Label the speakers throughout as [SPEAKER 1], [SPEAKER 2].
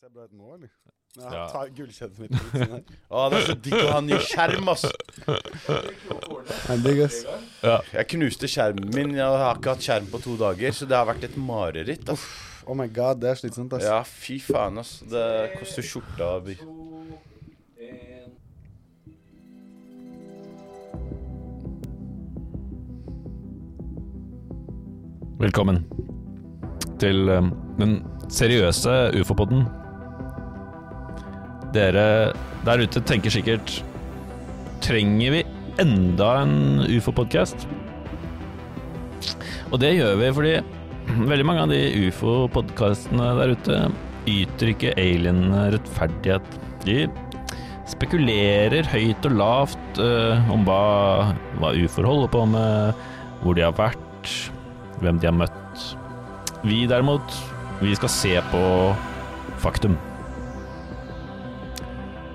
[SPEAKER 1] Ser bra ut nå, eller?
[SPEAKER 2] liksom.
[SPEAKER 1] Nei,
[SPEAKER 3] Ja.
[SPEAKER 1] han tar gullkjedet mitt ut sånn her.
[SPEAKER 2] Å, det er så digg å ha ny skjerm, ass.
[SPEAKER 1] Han er digg, ass.
[SPEAKER 2] Jeg knuste skjermen min. Jeg har ikke hatt skjerm på to dager, så det har vært et mareritt. ass.
[SPEAKER 1] Oh my god, det er slitsomt, ass.
[SPEAKER 2] Ja, fy faen, ass. Det koster skjorta av by.
[SPEAKER 3] Velkommen til um, den seriøse ufo-podden. Dere der ute tenker sikkert Trenger vi enda en ufo-podkast? Og det gjør vi fordi veldig mange av de ufo-podkastene der ute yter ikke alien rettferdighet. De spekulerer høyt og lavt eh, om hva, hva ufoer holder på med, hvor de har vært, hvem de har møtt. Vi derimot, vi skal se på faktum.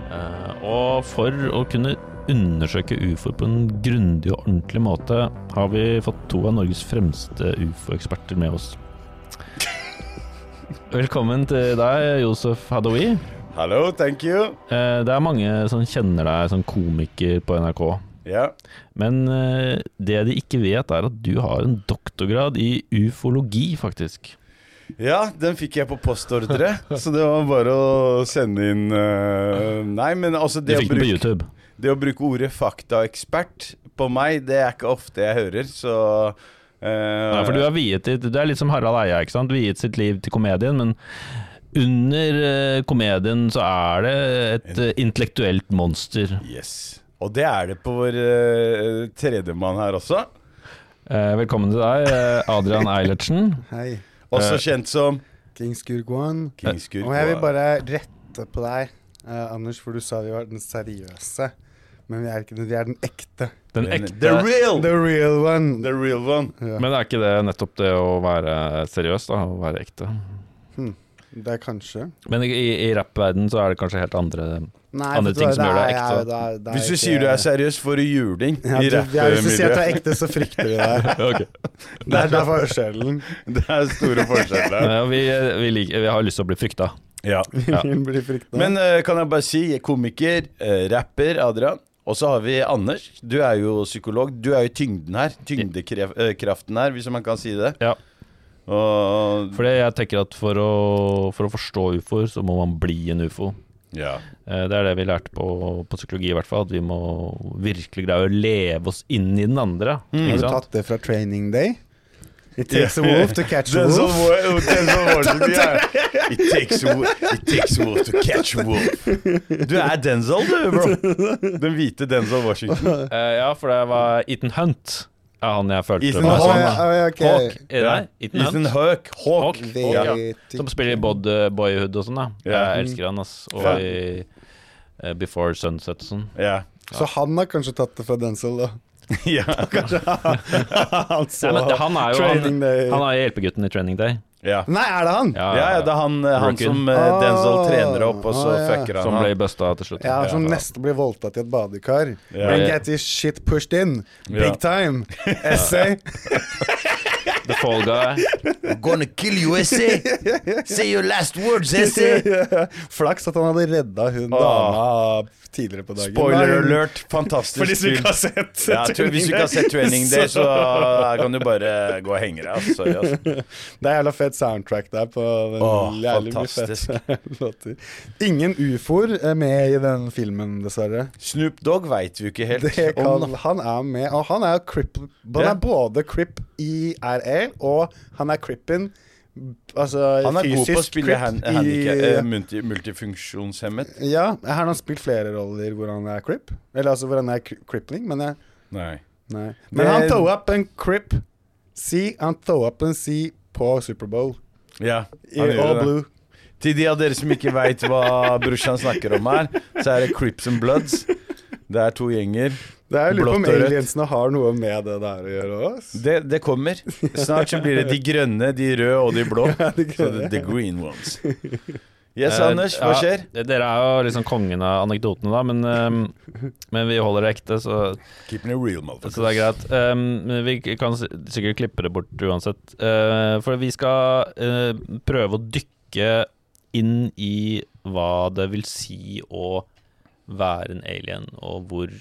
[SPEAKER 3] Eh, Og for å kunne undersøke ufoer på en grundig og ordentlig måte, har vi fått to av Norges fremste ufo-eksperter med oss. Velkommen til deg, Josef Hadoui.
[SPEAKER 2] Hallo, thank you.
[SPEAKER 3] Eh, Det er mange som kjenner deg som komiker på NRK.
[SPEAKER 2] Ja.
[SPEAKER 3] Men eh, det de ikke vet, er at du har en doktorgrad i ufologi, faktisk.
[SPEAKER 2] ja, den fikk jeg på postordre.
[SPEAKER 1] Så det var bare å sende inn eh, Nei, men altså
[SPEAKER 3] Du
[SPEAKER 1] det å,
[SPEAKER 3] fikk den på
[SPEAKER 1] bruke,
[SPEAKER 3] YouTube.
[SPEAKER 1] det å bruke
[SPEAKER 2] bruke ordet faktaekspert på meg, det er ikke ofte jeg hører, så eh,
[SPEAKER 3] Nei, for du er viet ditt Du er litt som Harald Eia, ikke sant? Viet sitt liv til komedien, men under eh, komedien så er det et eh, intellektuelt monster.
[SPEAKER 2] Yes. Og det er det på vår eh, tredjemann her også.
[SPEAKER 3] Eh, velkommen til deg, eh, Adrian Eilertsen.
[SPEAKER 1] Hei,
[SPEAKER 2] Også
[SPEAKER 3] Eh.
[SPEAKER 2] kjent som
[SPEAKER 1] King Skurkwan.
[SPEAKER 2] Kingskur.
[SPEAKER 1] Og jeg vil bare rette på deg, eh, Anders, for du sa vi var den seriøse. Men vi er ikke det, vi er den ekte.
[SPEAKER 3] Den
[SPEAKER 2] The
[SPEAKER 3] ekte
[SPEAKER 2] real!
[SPEAKER 1] The real one.
[SPEAKER 2] The real one.
[SPEAKER 1] Ja.
[SPEAKER 3] Men er ikke det nettopp det å være seriøs, da? Å være ekte?
[SPEAKER 1] Det er kanskje
[SPEAKER 3] Men i, i rappverdenen så er det kanskje helt andre
[SPEAKER 1] Nei,
[SPEAKER 3] Andre
[SPEAKER 1] vet du
[SPEAKER 3] ting
[SPEAKER 1] hva,
[SPEAKER 3] som gjør deg
[SPEAKER 1] er-
[SPEAKER 3] ekte.
[SPEAKER 1] det er- det er
[SPEAKER 2] Hvis du
[SPEAKER 1] ikke-
[SPEAKER 2] sier du er seriøs, får du juling
[SPEAKER 1] ja,
[SPEAKER 2] i
[SPEAKER 1] du, ja, Hvis du sier at du
[SPEAKER 2] rappmiljøet.
[SPEAKER 1] er ekte, så frykter vi deg.
[SPEAKER 3] Ok.
[SPEAKER 1] Det er derfor forskjellen.
[SPEAKER 2] Det er store forskjeller.
[SPEAKER 3] Eh, Vi, vi, liker, vi har lyst til å bli frykta.
[SPEAKER 2] ja.
[SPEAKER 3] Ja.
[SPEAKER 1] Ingen blir frykta.
[SPEAKER 2] Men eh, kan jeg bare si, jeg er komiker, eh, rapper, Adrian. Og så har vi Anders. Du er jo psykolog. Du er jo tyngden her. Tyngdekraften her, hvis man kan si det.
[SPEAKER 3] Ja.
[SPEAKER 2] Og
[SPEAKER 3] Fordi jeg tenker at for å, for å forstå ufoer, så må man bli en ufo.
[SPEAKER 2] Ja.
[SPEAKER 3] Eh, Det er det vi lærte på, på psykologi i hvert fall, at vi må virkelig greie å leve oss inn i den andre.
[SPEAKER 1] Mm. har
[SPEAKER 3] Mm. Ikke
[SPEAKER 1] du
[SPEAKER 3] sant?
[SPEAKER 1] tatt det fra Training Day? It takes a wolf to catch a
[SPEAKER 2] Den som
[SPEAKER 1] wolf.
[SPEAKER 2] var- den som var så mye. It takes a wolf, it takes a wolf to catch a wolf. Du er Denzel, du, bro. Den hvite Denzel Washington.
[SPEAKER 3] Eh, ja, for det var Ethan Hunt er han jeg følte
[SPEAKER 2] Ethan
[SPEAKER 3] meg
[SPEAKER 2] Hawke,
[SPEAKER 3] som.
[SPEAKER 1] Oi,
[SPEAKER 3] da.
[SPEAKER 1] oi, ok.
[SPEAKER 3] Hawk, eh, nei,
[SPEAKER 2] Ja.
[SPEAKER 3] Ethan Hunt.
[SPEAKER 2] Ethan Hawke. Hawk.
[SPEAKER 3] Hawke.
[SPEAKER 1] Very
[SPEAKER 2] Ja.
[SPEAKER 1] thick.
[SPEAKER 3] Som spiller i både Boyhood og sånn, da.
[SPEAKER 2] Ja.
[SPEAKER 3] Jeg elsker han, ass. Og
[SPEAKER 2] Ja.
[SPEAKER 3] i eh, Before Sunset og sånn.
[SPEAKER 2] Ja.
[SPEAKER 1] Så han har kanskje tatt det fra Denzel, da.
[SPEAKER 2] ja.
[SPEAKER 1] han
[SPEAKER 3] Nei,
[SPEAKER 1] så
[SPEAKER 3] men han er jo han,
[SPEAKER 1] Training Day.
[SPEAKER 3] han er jo hjelpegutten i Training Day.
[SPEAKER 2] ja.
[SPEAKER 1] Nei, er det han?
[SPEAKER 3] Ja,
[SPEAKER 2] Ja, ja, det er han, eh, han
[SPEAKER 3] Rookien.
[SPEAKER 2] som eh, Denzel trener opp, og så
[SPEAKER 1] Ah, ja.
[SPEAKER 2] fucker han
[SPEAKER 3] som ble
[SPEAKER 2] han.
[SPEAKER 3] busta til slutt.
[SPEAKER 1] Ja, som nesten blir voldtatt i et badekar.
[SPEAKER 2] Ja.
[SPEAKER 1] And get this shit pushed in.
[SPEAKER 2] Ja.
[SPEAKER 1] Big time. Essay.
[SPEAKER 3] The Fall Guy.
[SPEAKER 2] Gonna kill you, Essie. Say your last words,
[SPEAKER 1] Flaks at han hadde redda hun
[SPEAKER 2] Ah.
[SPEAKER 1] dama tidligere på dagen.
[SPEAKER 2] Spoiler
[SPEAKER 1] Nei, hun-
[SPEAKER 2] alert. Fantastisk
[SPEAKER 1] For de som
[SPEAKER 2] film.
[SPEAKER 1] ikke har sett
[SPEAKER 2] Ja, jeg tror, hvis du ikke har sett Training Day, så eh, kan du bare gå og henge deg. ass. Sorry, ass.
[SPEAKER 1] Det er jævla fett soundtrack der på den
[SPEAKER 2] Åh,
[SPEAKER 1] jævlig mye
[SPEAKER 2] fantastisk.
[SPEAKER 1] fette låter. Ingen ufoer er med i den filmen, dessverre.
[SPEAKER 2] Snoop Dogg veit vi ikke helt
[SPEAKER 1] Det
[SPEAKER 2] om.
[SPEAKER 1] kan, han er med, og han er jo crip Han
[SPEAKER 2] Ja.
[SPEAKER 1] er både crip i RL, og han er crippen Altså
[SPEAKER 2] Han er god på å
[SPEAKER 1] fysisk
[SPEAKER 2] spille
[SPEAKER 1] crip
[SPEAKER 2] hand
[SPEAKER 1] i-
[SPEAKER 2] handicap, eh, multi multifunksjonshemmet.
[SPEAKER 1] Ja, her har han spilt flere roller hvor han er crip. Eller altså hvor han er cri- crippling, men jeg
[SPEAKER 2] Nei.
[SPEAKER 1] Nei.
[SPEAKER 2] Det-
[SPEAKER 1] Men han tow up en crip C. Han tow up en C på Superbowl.
[SPEAKER 2] Ja,
[SPEAKER 1] I
[SPEAKER 2] han gjør
[SPEAKER 1] all
[SPEAKER 2] det.
[SPEAKER 1] blue.
[SPEAKER 2] Til de av dere som ikke veit hva brorsan snakker om her, så er det Crips and Bloods. Det er to gjenger.
[SPEAKER 1] Det er jo Lurer på om
[SPEAKER 2] Blått og rødt.
[SPEAKER 1] aliensene har noe med det der å gjøre også
[SPEAKER 2] Det, det kommer. Snart så blir det de grønne, de røde og de blå.
[SPEAKER 1] det
[SPEAKER 2] Så det, the green ones. Yes, Anders, hva
[SPEAKER 3] Eh, ja,
[SPEAKER 2] skjer?
[SPEAKER 3] Dere er jo liksom kongen av anekdotene, da, men, ehm, men vi holder det ekte, så,
[SPEAKER 2] Keeping it real, motherfucker.
[SPEAKER 3] så det er greit. Ehm, men vi kan s- sikkert klippe det bort uansett. Eh, for vi skal eh, prøve å dykke inn i hva det vil si å være en alien, og hvor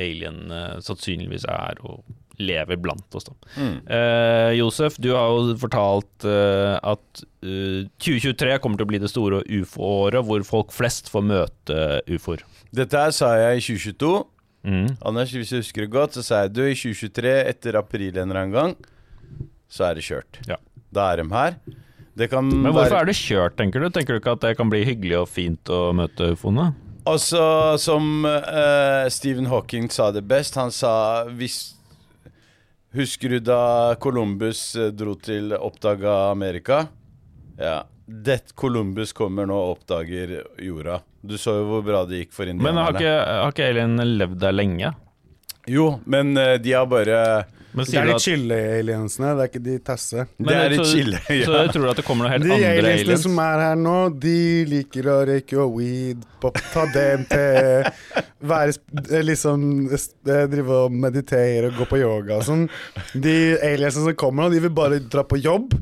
[SPEAKER 3] alienene sannsynligvis er og lever blant oss. Da.
[SPEAKER 2] Mm.
[SPEAKER 3] Eh, Josef, du har jo fortalt eh, at eh, 2023 kommer til å bli det store ufo-året, hvor folk flest får møte ufoer.
[SPEAKER 2] Dette her sa jeg i 2022.
[SPEAKER 3] Mm.
[SPEAKER 2] Anders, hvis du husker det godt, så sa jeg du i 2023, etter april en eller annen gang, så er det kjørt.
[SPEAKER 3] Ja.
[SPEAKER 2] Da er de her. Det kan
[SPEAKER 3] Men hvorfor
[SPEAKER 2] være
[SPEAKER 3] er det kjørt, tenker du? Tenker du ikke at det kan bli hyggelig og fint å møte ufoene?
[SPEAKER 2] Altså, som eh, Stephen Hawking sa det best, han sa hvis Husker du da Columbus eh, dro til oppdaga Amerika? Ja. Det Columbus kommer nå og oppdager jorda. Du så jo hvor bra det gikk for
[SPEAKER 3] Men
[SPEAKER 2] indianerne.
[SPEAKER 3] har ikke, har ikke alien levd der lenge?
[SPEAKER 2] Jo, men eh, de har bare
[SPEAKER 3] Men
[SPEAKER 1] Det
[SPEAKER 3] sier
[SPEAKER 1] er
[SPEAKER 3] du
[SPEAKER 1] de
[SPEAKER 3] at
[SPEAKER 1] chille-aliensene, det er ikke de tasse.
[SPEAKER 3] men
[SPEAKER 2] Det er et
[SPEAKER 3] så-
[SPEAKER 2] chille.
[SPEAKER 3] Så
[SPEAKER 2] Ja.
[SPEAKER 3] jeg tror at det kommer noen helt
[SPEAKER 1] De
[SPEAKER 3] andre
[SPEAKER 1] aliensene
[SPEAKER 3] aliens.
[SPEAKER 1] som er her nå, de liker å røyke og weed, pop, ta DMT, være sp- eh, liksom eh, drive og meditere og gå på yoga og sånn. De aliensene som kommer nå, de vil bare dra på jobb.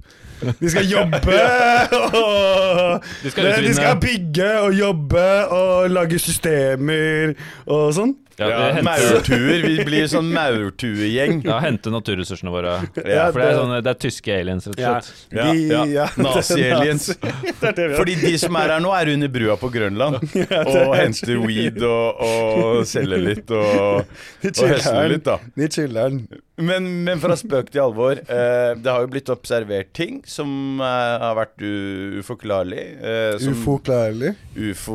[SPEAKER 1] De skal jobbe! og-
[SPEAKER 3] De skal
[SPEAKER 1] de
[SPEAKER 3] utvinne-
[SPEAKER 1] skal bygge og jobbe og lage systemer og sånn.
[SPEAKER 3] Ja, det
[SPEAKER 2] Ja,
[SPEAKER 3] henter,
[SPEAKER 2] maurtuer. Vi blir sånn maurtuegjeng.
[SPEAKER 3] ja, hente naturressursene våre.
[SPEAKER 1] Ja,
[SPEAKER 3] For det er,
[SPEAKER 1] det-
[SPEAKER 3] sånne, det er tyske aliens, rett og
[SPEAKER 1] Ja.
[SPEAKER 3] slett.
[SPEAKER 2] Ja,
[SPEAKER 1] De-
[SPEAKER 2] ja.
[SPEAKER 1] ja.
[SPEAKER 2] Nazi-aliens.
[SPEAKER 1] Det er det vi har.
[SPEAKER 2] Fordi de som er her nå, er under brua på Grønland og henter weed og, og selger litt og,
[SPEAKER 1] De
[SPEAKER 2] og høsler
[SPEAKER 1] chiller'n.
[SPEAKER 2] litt, da.
[SPEAKER 1] De chiller'n.
[SPEAKER 2] Men, men fra spøk til alvor. Eh, det har jo blitt observert ting som eh, har vært u uforklarlig. Eh, som
[SPEAKER 1] Uforklarlig.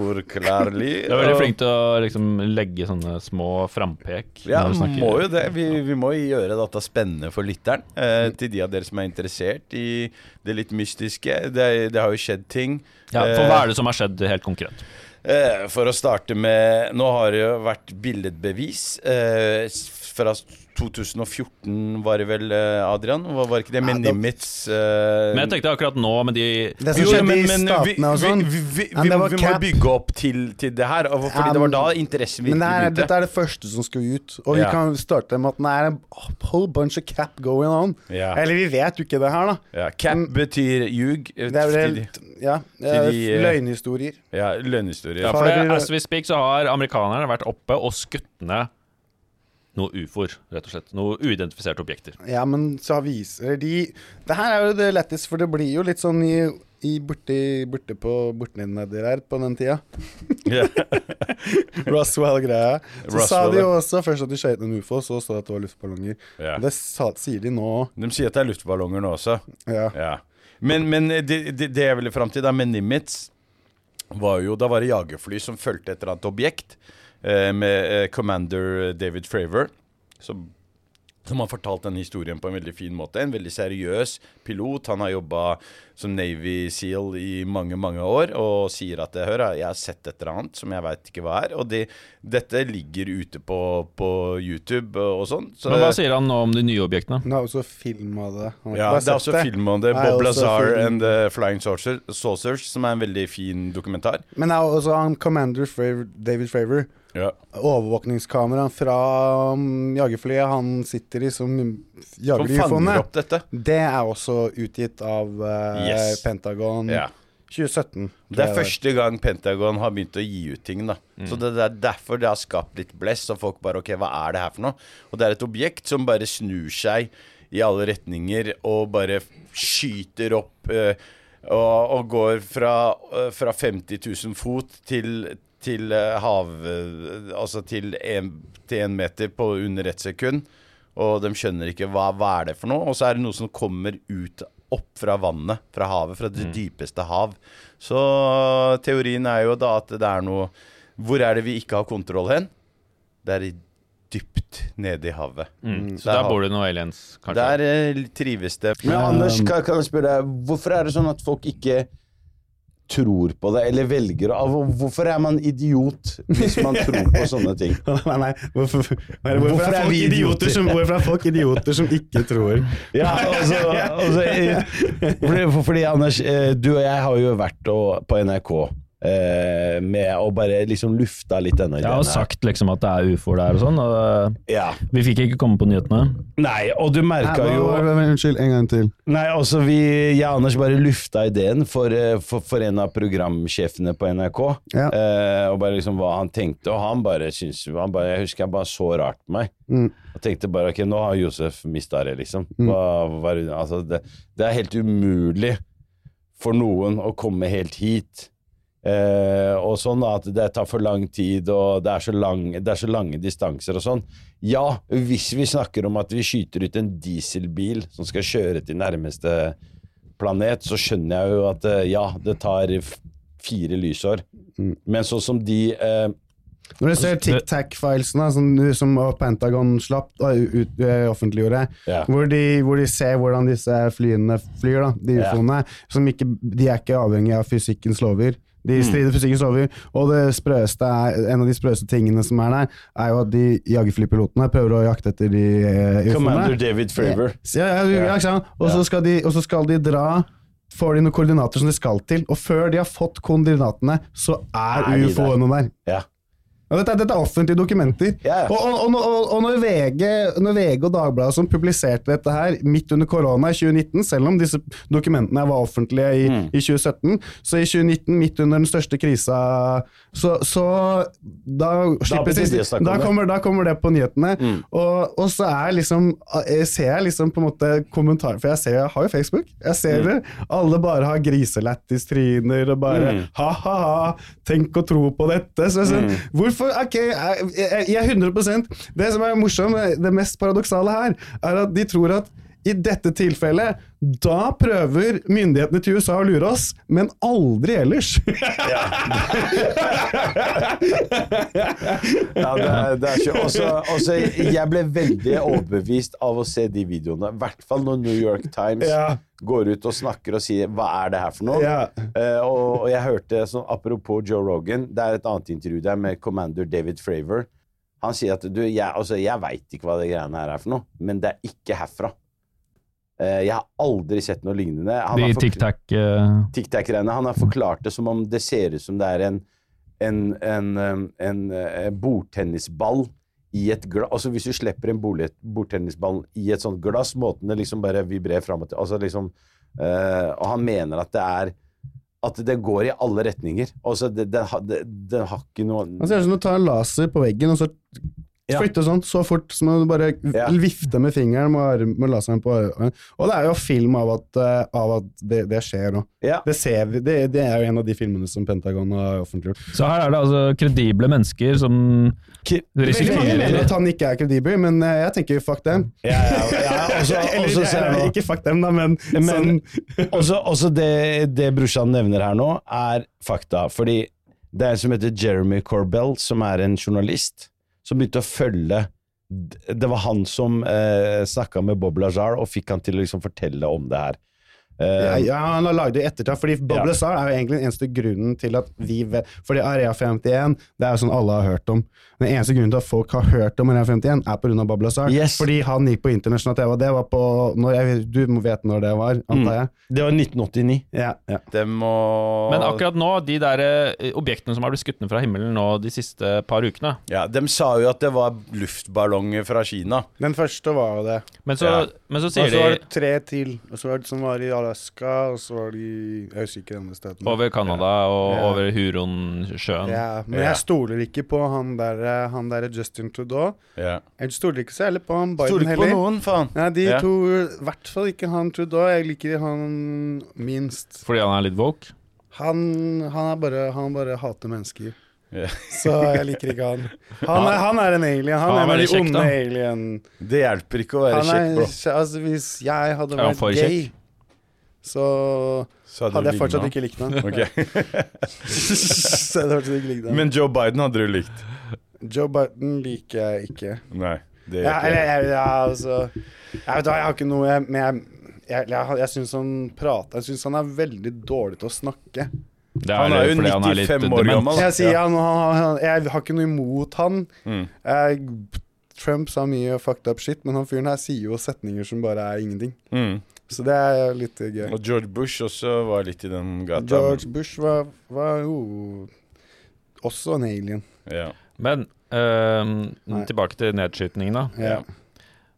[SPEAKER 2] Uforklarlig.
[SPEAKER 3] Du er veldig
[SPEAKER 2] og-
[SPEAKER 3] flink til å liksom, legge sånne små frampek.
[SPEAKER 2] Ja,
[SPEAKER 3] når du snakker.
[SPEAKER 2] må jo det. Vi, vi må gjøre dette spennende for lytteren. Eh, til de av dere som er interessert i det litt mystiske. Det, det har jo skjedd ting.
[SPEAKER 3] Ja, for hva er det som har skjedd helt konkret?
[SPEAKER 2] Eh, for å starte med Nå har det jo vært billedbevis. Eh, s- fra s- 2014 var det vel, eh, Adrian? Var, var ikke det med
[SPEAKER 1] Ja, det-
[SPEAKER 2] Nimitz? Eh,
[SPEAKER 3] Men jeg tenkte akkurat nå med de
[SPEAKER 1] Det som
[SPEAKER 2] jo,
[SPEAKER 1] skjedde
[SPEAKER 2] men-
[SPEAKER 1] i
[SPEAKER 2] men vi-
[SPEAKER 1] Statene og
[SPEAKER 2] vi-
[SPEAKER 1] sånn.
[SPEAKER 2] Vi, vi,
[SPEAKER 1] Ja,
[SPEAKER 2] vi,
[SPEAKER 1] det var
[SPEAKER 2] vi må
[SPEAKER 1] cap.
[SPEAKER 2] bygge opp til, til det her, og- fordi
[SPEAKER 1] Ja,
[SPEAKER 2] det var
[SPEAKER 1] men-
[SPEAKER 2] da interessen
[SPEAKER 1] Men det er,
[SPEAKER 2] virkelig begynte.
[SPEAKER 1] dette er det første som skal ut. Og vi
[SPEAKER 2] Ja.
[SPEAKER 1] kan starte med at det er en whole bunch of cap going on.
[SPEAKER 2] Ja.
[SPEAKER 1] Eller vi vet jo ikke det her, da.
[SPEAKER 2] Ja, cap
[SPEAKER 1] Mm.
[SPEAKER 2] betyr ljug. eh,
[SPEAKER 1] Det er vel
[SPEAKER 2] til de-
[SPEAKER 1] helt ja, eh,
[SPEAKER 2] de, eh,
[SPEAKER 1] løgnhistorier.
[SPEAKER 2] Ja, løgnhistorie.
[SPEAKER 3] Ja, for det,
[SPEAKER 1] Farer-
[SPEAKER 3] as we speak så har amerikanerne vært oppe og skutt ned noen ufoer, rett og slett. Noen uidentifiserte objekter.
[SPEAKER 1] Ja, men så viser de Det her er jo det lettest, for det blir jo litt sånn i, i borti, borte på borten din nedi der på den tida.
[SPEAKER 2] Ja.
[SPEAKER 1] Roswell-greia. Så sa
[SPEAKER 2] Roswell,
[SPEAKER 1] de
[SPEAKER 2] ja.
[SPEAKER 1] jo også først at de skjøt en ufo, så sa de at det var luftballonger.
[SPEAKER 2] Ja.
[SPEAKER 1] Det sa, sier de nå.
[SPEAKER 2] De sier at det er luftballonger nå også.
[SPEAKER 1] Ja.
[SPEAKER 2] Ja. Men, men eh, det, det, det jeg ville fram til da, med Nimitz var jo, Da var det jagerfly som fulgte et eller annet objekt eh, med eh, commander David Fravor, som, som har fortalt den historien på en veldig fin måte. En veldig seriøs pilot. Han har jobba som Navy Seal i mange, mange år og sier at Hør, jeg har sett et eller annet som jeg veit ikke hva er. Og det- dette ligger ute på, på YouTube og, og sånn. Så-
[SPEAKER 3] Men hva sier han nå om de nye objektene?
[SPEAKER 1] Hun har også filma det. Han har
[SPEAKER 2] ja,
[SPEAKER 1] ikke bare
[SPEAKER 2] det er
[SPEAKER 1] sett
[SPEAKER 2] også film om det.
[SPEAKER 1] Nei, også
[SPEAKER 2] Bob Lazar
[SPEAKER 1] film.
[SPEAKER 2] and the Flying Saucer- Saucers, som er en veldig fin dokumentar.
[SPEAKER 1] Men det er også han Commander Favor, David Fravor. Overvåkningskameraen fra um, jagerflyet han sitter i, som
[SPEAKER 2] Som
[SPEAKER 1] jager
[SPEAKER 2] fanger
[SPEAKER 1] ufoene.
[SPEAKER 2] opp dette.
[SPEAKER 1] Det er også utgitt av eh,
[SPEAKER 2] Yes.
[SPEAKER 1] Pentagon
[SPEAKER 2] Ja.
[SPEAKER 1] 2017. tror
[SPEAKER 2] Det er
[SPEAKER 1] jeg Mm.
[SPEAKER 2] første gang Pentagon har begynt å gi ut ting. da Så det er derfor det har skapt litt blest, og folk bare OK, hva er det her for noe? Og det er et objekt som bare snur seg i alle retninger og bare skyter opp eh, og, og går fra, eh, fra 50 000 fot til, til eh, hav... eh, altså til en, til en meter på under ett sekund. Og de skjønner ikke hva, hva er det for noe. Og så er det noe som kommer ut opp fra vannet, fra havet, fra
[SPEAKER 3] Mm.
[SPEAKER 2] det dypeste hav. Så teorien er jo da at det er noe Hvor er det vi ikke har kontroll hen? Det er i- dypt nede i havet.
[SPEAKER 3] Mm. Så
[SPEAKER 2] Der
[SPEAKER 3] der
[SPEAKER 2] har-
[SPEAKER 3] bor det noen aliens, kanskje?
[SPEAKER 2] Der eh, trives det.
[SPEAKER 1] Men Anders,
[SPEAKER 2] kan, jeg spørre deg, hvorfor er det sånn at folk ikke tror på det, eller velger å Hvorfor er man idiot hvis man tror på sånne ting?
[SPEAKER 1] det er. Nei, nei, hvorfor, nei, hvorfor,
[SPEAKER 2] Hvorfor
[SPEAKER 1] er
[SPEAKER 2] er
[SPEAKER 1] folk
[SPEAKER 2] vi idioter?
[SPEAKER 1] idioter som, hvorfor er folk idioter som ikke tror?
[SPEAKER 2] Ja, altså, altså eh, fordi, for- fordi Anders, eh, du og jeg har jo vært og, på NRK
[SPEAKER 4] eh, med å bare liksom lufta litt denne
[SPEAKER 3] Jeg har
[SPEAKER 4] ideen her.
[SPEAKER 3] sagt liksom at det er ufoer der og sånn, og eh,
[SPEAKER 4] Ja.
[SPEAKER 3] vi fikk ikke komme på nyhetene.
[SPEAKER 4] Nei, og du merka jo
[SPEAKER 1] Unnskyld, en gang til.
[SPEAKER 4] Nei, altså vi, jeg og Anders bare lufta ideen for, eh, for, for en av programsjefene på NRK.
[SPEAKER 1] Ja.
[SPEAKER 4] Eh, og bare liksom hva han tenkte, og han bare syntes han bare, Jeg husker han bare så rart på meg.
[SPEAKER 1] Mm.
[SPEAKER 4] Og tenkte bare ok, nå har Josef mista det, liksom. Hva, hva, er det- altså, det, det er helt umulig for noen å komme helt hit. Eh, og sånn da, at det tar for lang tid, og det er, så lang, det er så lange distanser og sånn. Ja, hvis vi snakker om at vi skyter ut en dieselbil som skal kjøre til nærmeste planet, så skjønner jeg jo at eh, ja, det tar f- fire lysår. Men sånn som de eh,
[SPEAKER 1] Når du ser TicTac-filesene som, som Pentagon slapp da, ut, eh, offentliggjorde,
[SPEAKER 4] Ja.
[SPEAKER 1] hvor, de, hvor de ser hvordan disse flyene flyr, da, de
[SPEAKER 4] Ja.
[SPEAKER 1] ufoene, som ikke, de er ikke avhengig av fysikkens lover. De
[SPEAKER 4] Mm.
[SPEAKER 1] strider fysikkens lover, og det sprøeste er, en av de sprøeste tingene som er der, er jo at de jagerflypilotene prøver å jakte etter de eh,
[SPEAKER 4] Commander
[SPEAKER 1] ufoene.
[SPEAKER 4] David Fravor.
[SPEAKER 1] Så Ja, ja, ja, ikke sant? Og så skal, de- og så skal de dra Får de noen koordinater som de skal til, og før de har fått koordinatene, så er,
[SPEAKER 4] Er de der?
[SPEAKER 1] ufoene der.
[SPEAKER 4] Ja.
[SPEAKER 1] Ja, dette, er- dette er offentlige dokumenter.
[SPEAKER 4] Ja, ja.
[SPEAKER 1] Og, og, og, og, og når, VG, når VG og Dagbladet som publiserte dette her midt under korona i 2019, selv om disse dokumentene var offentlige i,
[SPEAKER 4] Mm.
[SPEAKER 1] i 2017, så i 2019, midt under den største krisa, så, så da slippes
[SPEAKER 4] begynte de å
[SPEAKER 1] det-
[SPEAKER 4] snakke om
[SPEAKER 1] da
[SPEAKER 4] det. Mm.
[SPEAKER 1] kommer, da kommer det på nyhetene. Og, og så er liksom, jeg ser jeg liksom på en måte kommentar, for jeg, ser, jeg har jo Facebook. Jeg ser
[SPEAKER 4] Mm.
[SPEAKER 1] det. Alle bare har griselættis-tryner og bare
[SPEAKER 4] Mm.
[SPEAKER 1] ha-ha-ha, tenk å tro på dette. Så jeg, sånn,
[SPEAKER 4] Mm.
[SPEAKER 1] Hvorfor? Ok, jeg, jeg, jeg er 100 Det som er morsomt, det mest paradoksale her, er at de tror at i dette tilfellet, da prøver myndighetene til USA å lure oss, men aldri ellers.
[SPEAKER 4] Ja, det er, det er ikke også, også, Jeg ble veldig overbevist av å se de videoene. I hvert fall når New York Times
[SPEAKER 1] Ja.
[SPEAKER 4] går ut og snakker og sier 'hva er det her for noe'?
[SPEAKER 1] Ja.
[SPEAKER 4] Eh, og, og jeg hørte, sånn, apropos Joe Rogan, det er et annet intervju der med commander David Fravor. Han sier at du, jeg, altså, jeg veit ikke hva det greiene her er for noe, men det er ikke herfra. Eh, jeg har aldri sett noe lignende. Han
[SPEAKER 3] De
[SPEAKER 4] har forkl-
[SPEAKER 3] tic-tac eh,
[SPEAKER 4] TikTok-greiene. Han har forklart det som om det ser ut som det er en, en, en, um, en, eh, bordtennisball i et glass Altså hvis du slipper en bol- bordtennisball i et sånt glass, måten det liksom bare vibrerer fram og til altså liksom, eh, Og han mener at det er at det går i alle retninger. Altså, det, det, har- det, det har ikke noe
[SPEAKER 1] Han ser ut som du tar en laser på veggen, og så
[SPEAKER 4] Ja.
[SPEAKER 1] flytter sånn så fort som om du bare
[SPEAKER 4] Ja.
[SPEAKER 1] vifter med fingeren med, arm, med laseren på armen. Og det er jo film av at, eh, av at det, det skjer òg.
[SPEAKER 4] Ja.
[SPEAKER 1] Det, ser vi, det, det er jo en av de filmene som Pentagon har offentliggjort.
[SPEAKER 3] Så her er det altså kredible mennesker som
[SPEAKER 1] Veldig mange mener
[SPEAKER 3] risikerer
[SPEAKER 1] at han ikke er kredibel, men eh, jeg tenker fuck dem.
[SPEAKER 4] Ja, ja, ja, også-
[SPEAKER 1] Eller,
[SPEAKER 4] også ser jeg nå-
[SPEAKER 1] ikke fuck dem, da, men,
[SPEAKER 4] Men-
[SPEAKER 1] sånn
[SPEAKER 4] Også, også det, det brorsan nevner her nå, er fakta. Fordi det er en som heter Jeremy Corbell, som er en journalist, som begynte å følge Det var han som eh, snakka med Bob Lazar og fikk han til å liksom fortelle om det her.
[SPEAKER 1] Ja,
[SPEAKER 4] Eh,
[SPEAKER 1] ja, han har lagd det i ettertid, fordi Bob
[SPEAKER 4] Ja.
[SPEAKER 1] Lazar er jo egentlig den eneste grunnen til at vi vet Fordi Area 51, E det er jo sånn alle har hørt om. Den eneste grunnen til at folk har hørt om Area 51, er pga. Bob Lazar.
[SPEAKER 4] Yes.
[SPEAKER 1] Fordi han gikk på internasjonal TV, og det var på når jeg, Du vet når det var, antar jeg?
[SPEAKER 4] Det var 1989.
[SPEAKER 1] Ja, ja.
[SPEAKER 2] Det må
[SPEAKER 3] Men akkurat nå, de der eh, objektene som har blitt skutt ned fra himmelen nå de siste par ukene
[SPEAKER 2] ja, De sa jo at det var luftballonger fra Kina.
[SPEAKER 1] Den første var jo det.
[SPEAKER 3] Men så,
[SPEAKER 2] Ja.
[SPEAKER 3] men så sier de
[SPEAKER 1] tre til, og så var det som var i Alaska, og så var det i Jeg husker ikke de andre stedene.
[SPEAKER 3] over Canada og
[SPEAKER 1] Ja.
[SPEAKER 3] over Huronsjøen
[SPEAKER 1] Ja, men
[SPEAKER 2] Ja.
[SPEAKER 1] jeg stoler ikke på han derre der Justin Trudeau.
[SPEAKER 2] Ja.
[SPEAKER 1] Jeg stoler ikke så heller på han
[SPEAKER 2] Stoler
[SPEAKER 1] Biden
[SPEAKER 2] ikke på
[SPEAKER 1] heller.
[SPEAKER 2] noen, faen.
[SPEAKER 1] Nei, de
[SPEAKER 2] Ja.
[SPEAKER 1] to I hvert fall ikke han Trudeau. Jeg liker han minst.
[SPEAKER 3] fordi han er litt woke.
[SPEAKER 1] Han, han, er bare, han bare hater mennesker.
[SPEAKER 2] Ja.
[SPEAKER 1] Så jeg liker ikke han. Han er, han er en alien. Han,
[SPEAKER 3] Han er
[SPEAKER 1] er en av de
[SPEAKER 3] veldig kjekk,
[SPEAKER 1] onde
[SPEAKER 3] da.
[SPEAKER 1] alien.
[SPEAKER 2] Det hjelper ikke å være
[SPEAKER 1] Han
[SPEAKER 2] kjekk,
[SPEAKER 1] er,
[SPEAKER 2] bro.
[SPEAKER 1] altså, hvis jeg hadde
[SPEAKER 3] Ja, han
[SPEAKER 1] vært
[SPEAKER 3] får
[SPEAKER 1] gay, så
[SPEAKER 2] Så
[SPEAKER 1] hadde jeg
[SPEAKER 2] du ligget
[SPEAKER 1] fortsatt
[SPEAKER 2] med
[SPEAKER 1] ikke likt han.
[SPEAKER 2] han. Ok.
[SPEAKER 1] Så jeg hadde fortsatt ikke likt han.
[SPEAKER 2] Men Joe Biden hadde du likt.
[SPEAKER 1] Joe Biden liker jeg ikke.
[SPEAKER 2] Nei. Det
[SPEAKER 1] Ja,
[SPEAKER 2] gjør
[SPEAKER 1] eller,
[SPEAKER 2] ikke jeg.
[SPEAKER 1] jeg, ja, altså Jeg vet da, jeg har ikke noe jeg- Men jeg, jeg, jeg, jeg syns han prater Jeg syns han er veldig dårlig til å snakke.
[SPEAKER 3] Det
[SPEAKER 2] Han er jo
[SPEAKER 3] fordi han er litt
[SPEAKER 2] 95 år
[SPEAKER 3] dement.
[SPEAKER 2] gammel.
[SPEAKER 1] Jeg sier
[SPEAKER 2] Ja.
[SPEAKER 1] han, han, han Jeg har ikke noe imot han.
[SPEAKER 2] Mm.
[SPEAKER 1] Jeg Eh, Trump sa mye fucked up shit, men han fyren her sier jo setninger som bare er ingenting.
[SPEAKER 2] Mm.
[SPEAKER 1] Så det er jo litt gøy.
[SPEAKER 2] Og George Bush også var litt i den gata.
[SPEAKER 1] George Bush var, var jo også en alien.
[SPEAKER 2] Ja.
[SPEAKER 3] Men øhm,
[SPEAKER 1] Nei.
[SPEAKER 3] tilbake til nedskytningen, da.
[SPEAKER 1] Ja.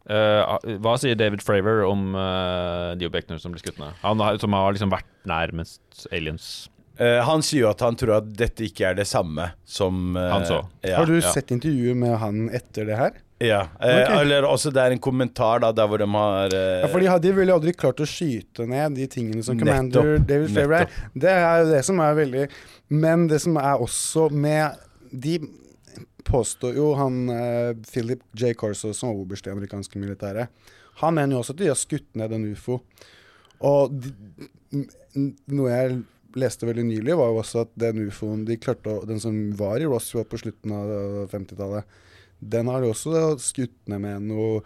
[SPEAKER 3] Eh, hva sier David Fravor om eh, de objektene som blir skutt ned? Han har, som har liksom vært nærmest aliens.
[SPEAKER 2] Eh, han sier jo at han tror at dette ikke er det samme som eh,
[SPEAKER 3] Han så.
[SPEAKER 2] Ja,
[SPEAKER 1] Har du
[SPEAKER 2] ja.
[SPEAKER 1] sett intervjuet med han etter det her?
[SPEAKER 2] Ja. Eh,
[SPEAKER 1] Ok.
[SPEAKER 2] Eller også det er en kommentar da, der hvor de har eh,
[SPEAKER 1] Ja, for de, har- de ville aldri klart å skyte ned de tingene som Commander
[SPEAKER 2] Nettopp,
[SPEAKER 1] David Fravor er. Det er jo det som er veldig Men det som er også med De påstår jo han eh, Philip J. Corso, som var oberst i det amerikanske militæret Han mener jo også at de har skutt ned en ufo. Og de, n- n- noe jeg leste veldig nylig, var jo også at den ufoen de klarte å, Den som var i Roswell på slutten av eh, 50-tallet, den har de også skutt ned med noe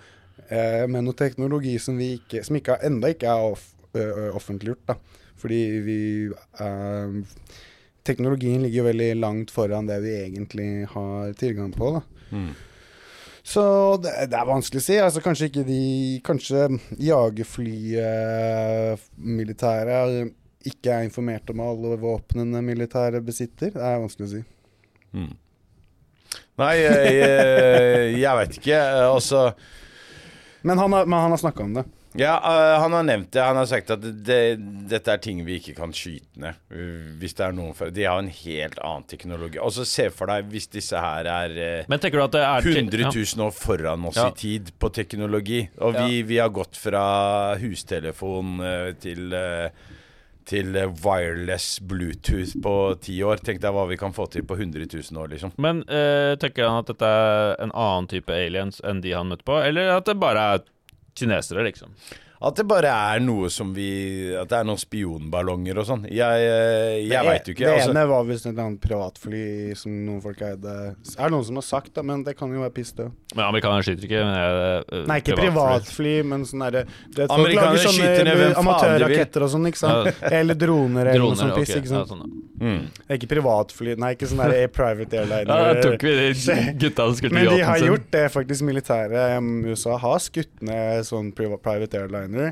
[SPEAKER 1] eh, med noe teknologi som, vi ikke, som ikke, enda ikke er off, ø, ø, offentliggjort. Da. Fordi vi eh, Teknologien ligger veldig langt foran det vi egentlig har tilgang på. Da.
[SPEAKER 2] Mm.
[SPEAKER 1] Så det, det er vanskelig å si. Altså, kanskje ikke de Kanskje jagerflymilitæret ikke er informert om alle våpnene militæret besitter. Det er vanskelig å si.
[SPEAKER 2] Mm. Nei, jeg, jeg, jeg vet ikke. Eh, Også
[SPEAKER 1] Men han har, men han har snakka om det.
[SPEAKER 2] Ja, øh, han har nevnt det. Han har sagt at det, dette er ting vi ikke kan skyte ned. øh, Hvis det er noen for De har en helt annen teknologi. Og så se for deg hvis disse her er øh,
[SPEAKER 3] Men tenker du at det er
[SPEAKER 2] 100 000 år foran oss
[SPEAKER 3] Ja.
[SPEAKER 2] i tid på teknologi. Og vi, vi har gått fra hustelefon øh, til øh, til øh, wireless Bluetooth på ti år. Tenk deg hva vi kan få til på 100 000 år, liksom.
[SPEAKER 3] Men eh, tenker han at dette er en annen type aliens enn de han møtte på, eller at det bare er kinesere, liksom?
[SPEAKER 2] At det bare er noe som vi At det er noen spionballonger og sånn. Jeg, øh, jeg
[SPEAKER 1] Det-
[SPEAKER 2] veit jo ikke.
[SPEAKER 1] Det
[SPEAKER 2] altså.
[SPEAKER 1] ene var visst et eller annet privatfly som noen folk eide. Er det noen som har sagt det, men det kan jo være piss, det.
[SPEAKER 3] Men amerikanere skyter ikke. Men eh,
[SPEAKER 1] Nei, ikke privatfly,
[SPEAKER 3] privatfly.
[SPEAKER 1] men sånn derre du vet, folk
[SPEAKER 2] Amerikanere
[SPEAKER 1] lager sånne
[SPEAKER 2] skyter ned hvem faen de vil.
[SPEAKER 1] Amatørraketter og sånn, ikke sant. Eller droner eller noe sånt
[SPEAKER 3] Droner, ok.
[SPEAKER 1] piss. Ikke
[SPEAKER 3] Ja,
[SPEAKER 1] sant?
[SPEAKER 3] sånn, ja.
[SPEAKER 2] Mm.
[SPEAKER 1] Det er Ikke privatfly, nei, ikke sånn derre private airliner.
[SPEAKER 3] ja, da tok vi de gutta som skulle
[SPEAKER 1] men
[SPEAKER 3] til
[SPEAKER 1] de har
[SPEAKER 3] yachten sin.
[SPEAKER 1] gjort det, faktisk. Militæret um, USA har skutt ned sånn priva- private airliner. Eh,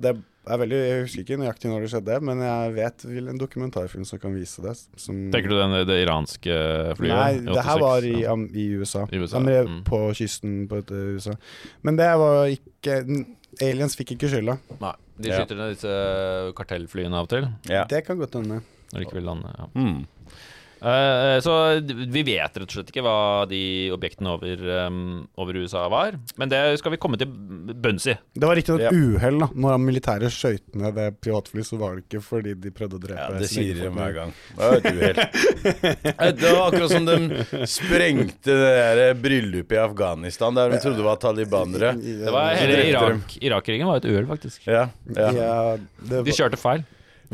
[SPEAKER 1] det er veldig, Jeg husker ikke nøyaktig når det skjedde, men jeg vet vil en dokumentarfilm som kan vise det. Som,
[SPEAKER 3] Tenker du den, det iranske flyet?
[SPEAKER 1] Mm. Nei,
[SPEAKER 3] i
[SPEAKER 1] det her
[SPEAKER 3] 86?
[SPEAKER 1] var i,
[SPEAKER 3] Ja.
[SPEAKER 1] am, i USA.
[SPEAKER 3] I USA,
[SPEAKER 1] Am-
[SPEAKER 3] mm.
[SPEAKER 1] På kysten på et, eh, USA. Men det var ikke n- Aliens fikk ikke skylda.
[SPEAKER 3] Nei, de
[SPEAKER 2] Ja.
[SPEAKER 3] skyter ned disse eh, kartellflyene av og til.
[SPEAKER 2] Ja.
[SPEAKER 1] Det kan godt hende.
[SPEAKER 3] Når de ikke vil lande. Ja.
[SPEAKER 2] Mm.
[SPEAKER 3] Eh, eh, så d- vi vet rett og slett ikke hva de objektene over, eh, over USA var. Men det skal vi komme til bunns i.
[SPEAKER 1] Det var riktignok
[SPEAKER 2] Ja.
[SPEAKER 1] et uhell. da. Når militæret skøyt ned det privatflyet, så var det ikke fordi de prøvde å drepe
[SPEAKER 2] Ja, det
[SPEAKER 1] sine
[SPEAKER 2] sier
[SPEAKER 1] egne
[SPEAKER 2] de
[SPEAKER 1] folk.
[SPEAKER 2] hver gang. Det var et uhell. Eh, Det var akkurat som de sprengte det der bryllupet i Afghanistan, der de trodde det var talibanere.
[SPEAKER 3] Det var hele
[SPEAKER 2] drepte
[SPEAKER 3] Irak, Irak-krigen var et uhell, faktisk.
[SPEAKER 2] Ja, ja.
[SPEAKER 1] Ja, det
[SPEAKER 3] De
[SPEAKER 1] var,
[SPEAKER 3] kjørte feil.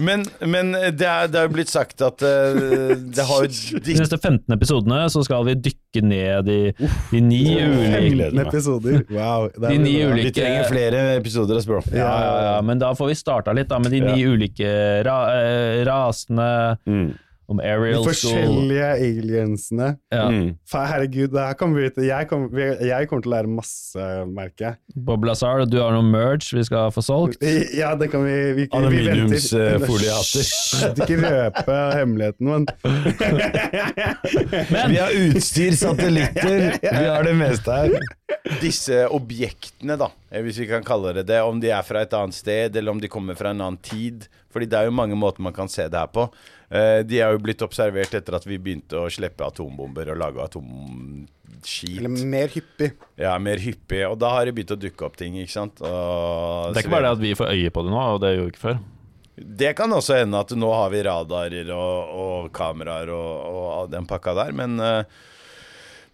[SPEAKER 2] Men, men det er det er jo blitt sagt at eh, det har jo
[SPEAKER 3] De
[SPEAKER 2] ditt
[SPEAKER 3] neste 15 episodene så skal vi dykke ned i de ni ulike
[SPEAKER 4] gleder
[SPEAKER 1] Femten
[SPEAKER 4] meg.
[SPEAKER 1] episoder. Wow. det er
[SPEAKER 3] De ni
[SPEAKER 1] bra.
[SPEAKER 3] ulike
[SPEAKER 4] Vi trenger flere episoder av Språk.
[SPEAKER 3] ja, ja, ja, Men da får vi starta litt da med de ni ulike ra eh, rasene,
[SPEAKER 4] Mm.
[SPEAKER 3] om
[SPEAKER 1] De
[SPEAKER 3] Ariel School
[SPEAKER 1] forskjellige aliensene.
[SPEAKER 3] ja,
[SPEAKER 4] Mm.
[SPEAKER 1] Fa- Herregud, det her kommer vi til jeg, kom, jeg kommer til å lære masse, merker jeg.
[SPEAKER 3] Bob Lazar, og du har noe merch vi skal få solgt.
[SPEAKER 1] Ja, det kan vi Vi, vi
[SPEAKER 3] eh,
[SPEAKER 4] Aluminiumsfoliehatter.
[SPEAKER 1] Hysj, Ikke røpe hemmeligheten, men
[SPEAKER 4] Vi har utstyr, satellitter, vi har det meste her.
[SPEAKER 2] disse objektene, da, eh, hvis vi kan kalle det det, om de er fra et annet sted, eller om de kommer fra en annen tid. Fordi det er jo mange måter man kan se det her på. Eh, De er jo blitt observert etter at vi begynte å slippe atombomber og lage atomskip.
[SPEAKER 1] Eller mer hyppig.
[SPEAKER 2] Ja, mer hyppig. Og da har det begynt å dukke opp ting, ikke sant. Og
[SPEAKER 3] Det er ikke bare det at vi får øye på det nå, og det gjorde vi ikke før.
[SPEAKER 2] Det kan også hende at nå har vi radarer og, og kameraer og, og den pakka der, men eh,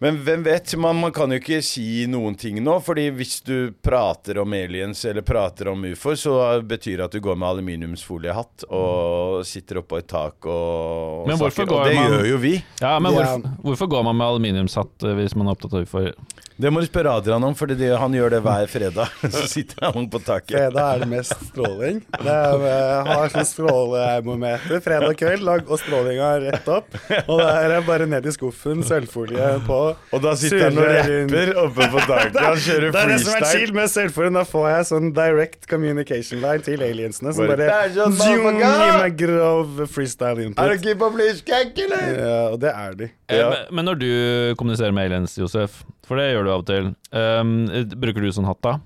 [SPEAKER 2] men hvem vet? Man, man kan jo ikke si noen ting nå. fordi hvis du prater om aliens eller prater om ufoer, så betyr det at du går med aluminiumsfoliehatt og sitter oppå et tak og, og
[SPEAKER 3] Men hvorfor
[SPEAKER 2] snakker. Og
[SPEAKER 3] går
[SPEAKER 2] det
[SPEAKER 3] man-
[SPEAKER 2] gjør jo vi.
[SPEAKER 3] Ja, men
[SPEAKER 1] Ja.
[SPEAKER 3] hvorfor, hvorfor går man med aluminiumshatt eh, hvis man er opptatt av ufoer?
[SPEAKER 2] Det må du spørre Adrian om, for han gjør det hver fredag. Så sitter han på taket.
[SPEAKER 1] Fredag er det mest stråling. Det er, eh, har sånn strålemometer. Fredag kveld, lag, og strålinga er rett opp. Og det er bare ned i skuffen, sølvfolie på.
[SPEAKER 2] Og da sitter han og
[SPEAKER 1] surrer rundt.
[SPEAKER 2] rapper oppe på taket. Han kjører
[SPEAKER 1] Det er det som er
[SPEAKER 2] freestyle.
[SPEAKER 1] chill med sølvfolien. Da får jeg sånn direct communication line til aliensene som
[SPEAKER 2] Bare,
[SPEAKER 1] bare
[SPEAKER 2] "Det er sånn,
[SPEAKER 1] zoom,
[SPEAKER 2] motherfucker!"
[SPEAKER 1] Gi meg grov freestyle
[SPEAKER 2] Er du
[SPEAKER 1] input.
[SPEAKER 2] keen på å bli skækk, eller?
[SPEAKER 1] Ja, og det er de.
[SPEAKER 3] Eh,
[SPEAKER 2] Ja.
[SPEAKER 3] men- Men når du kommuniserer med aliens, Josef, for det gjør du av og til, eh, bruker du sånn hatt da?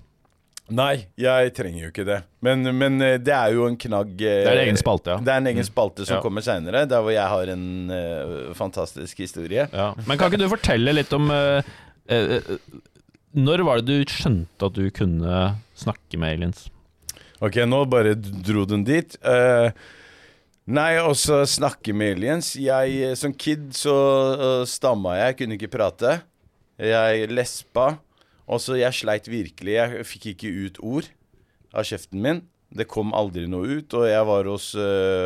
[SPEAKER 2] Nei, jeg trenger jo ikke det. Men, men eh, det er jo en knagg eh,
[SPEAKER 3] Det er en egen spalte, ja.
[SPEAKER 2] Det er en egen spalte som
[SPEAKER 3] Ja.
[SPEAKER 2] kommer seinere, der hvor jeg har en eh, fantastisk historie.
[SPEAKER 3] Ja. Men kan ikke du fortelle litt om eh, eh, eh, Når var det du skjønte at du kunne snakke med aliens?
[SPEAKER 2] Ok, nå bare dro den dit. Eh, nei, og så snakke med aliens. Jeg, eh, som kid så eh, stamma jeg, kunne ikke prate. Jeg lespa. Og så jeg sleit virkelig. Jeg fikk ikke ut ord av kjeften min. Det kom aldri noe ut, og jeg var hos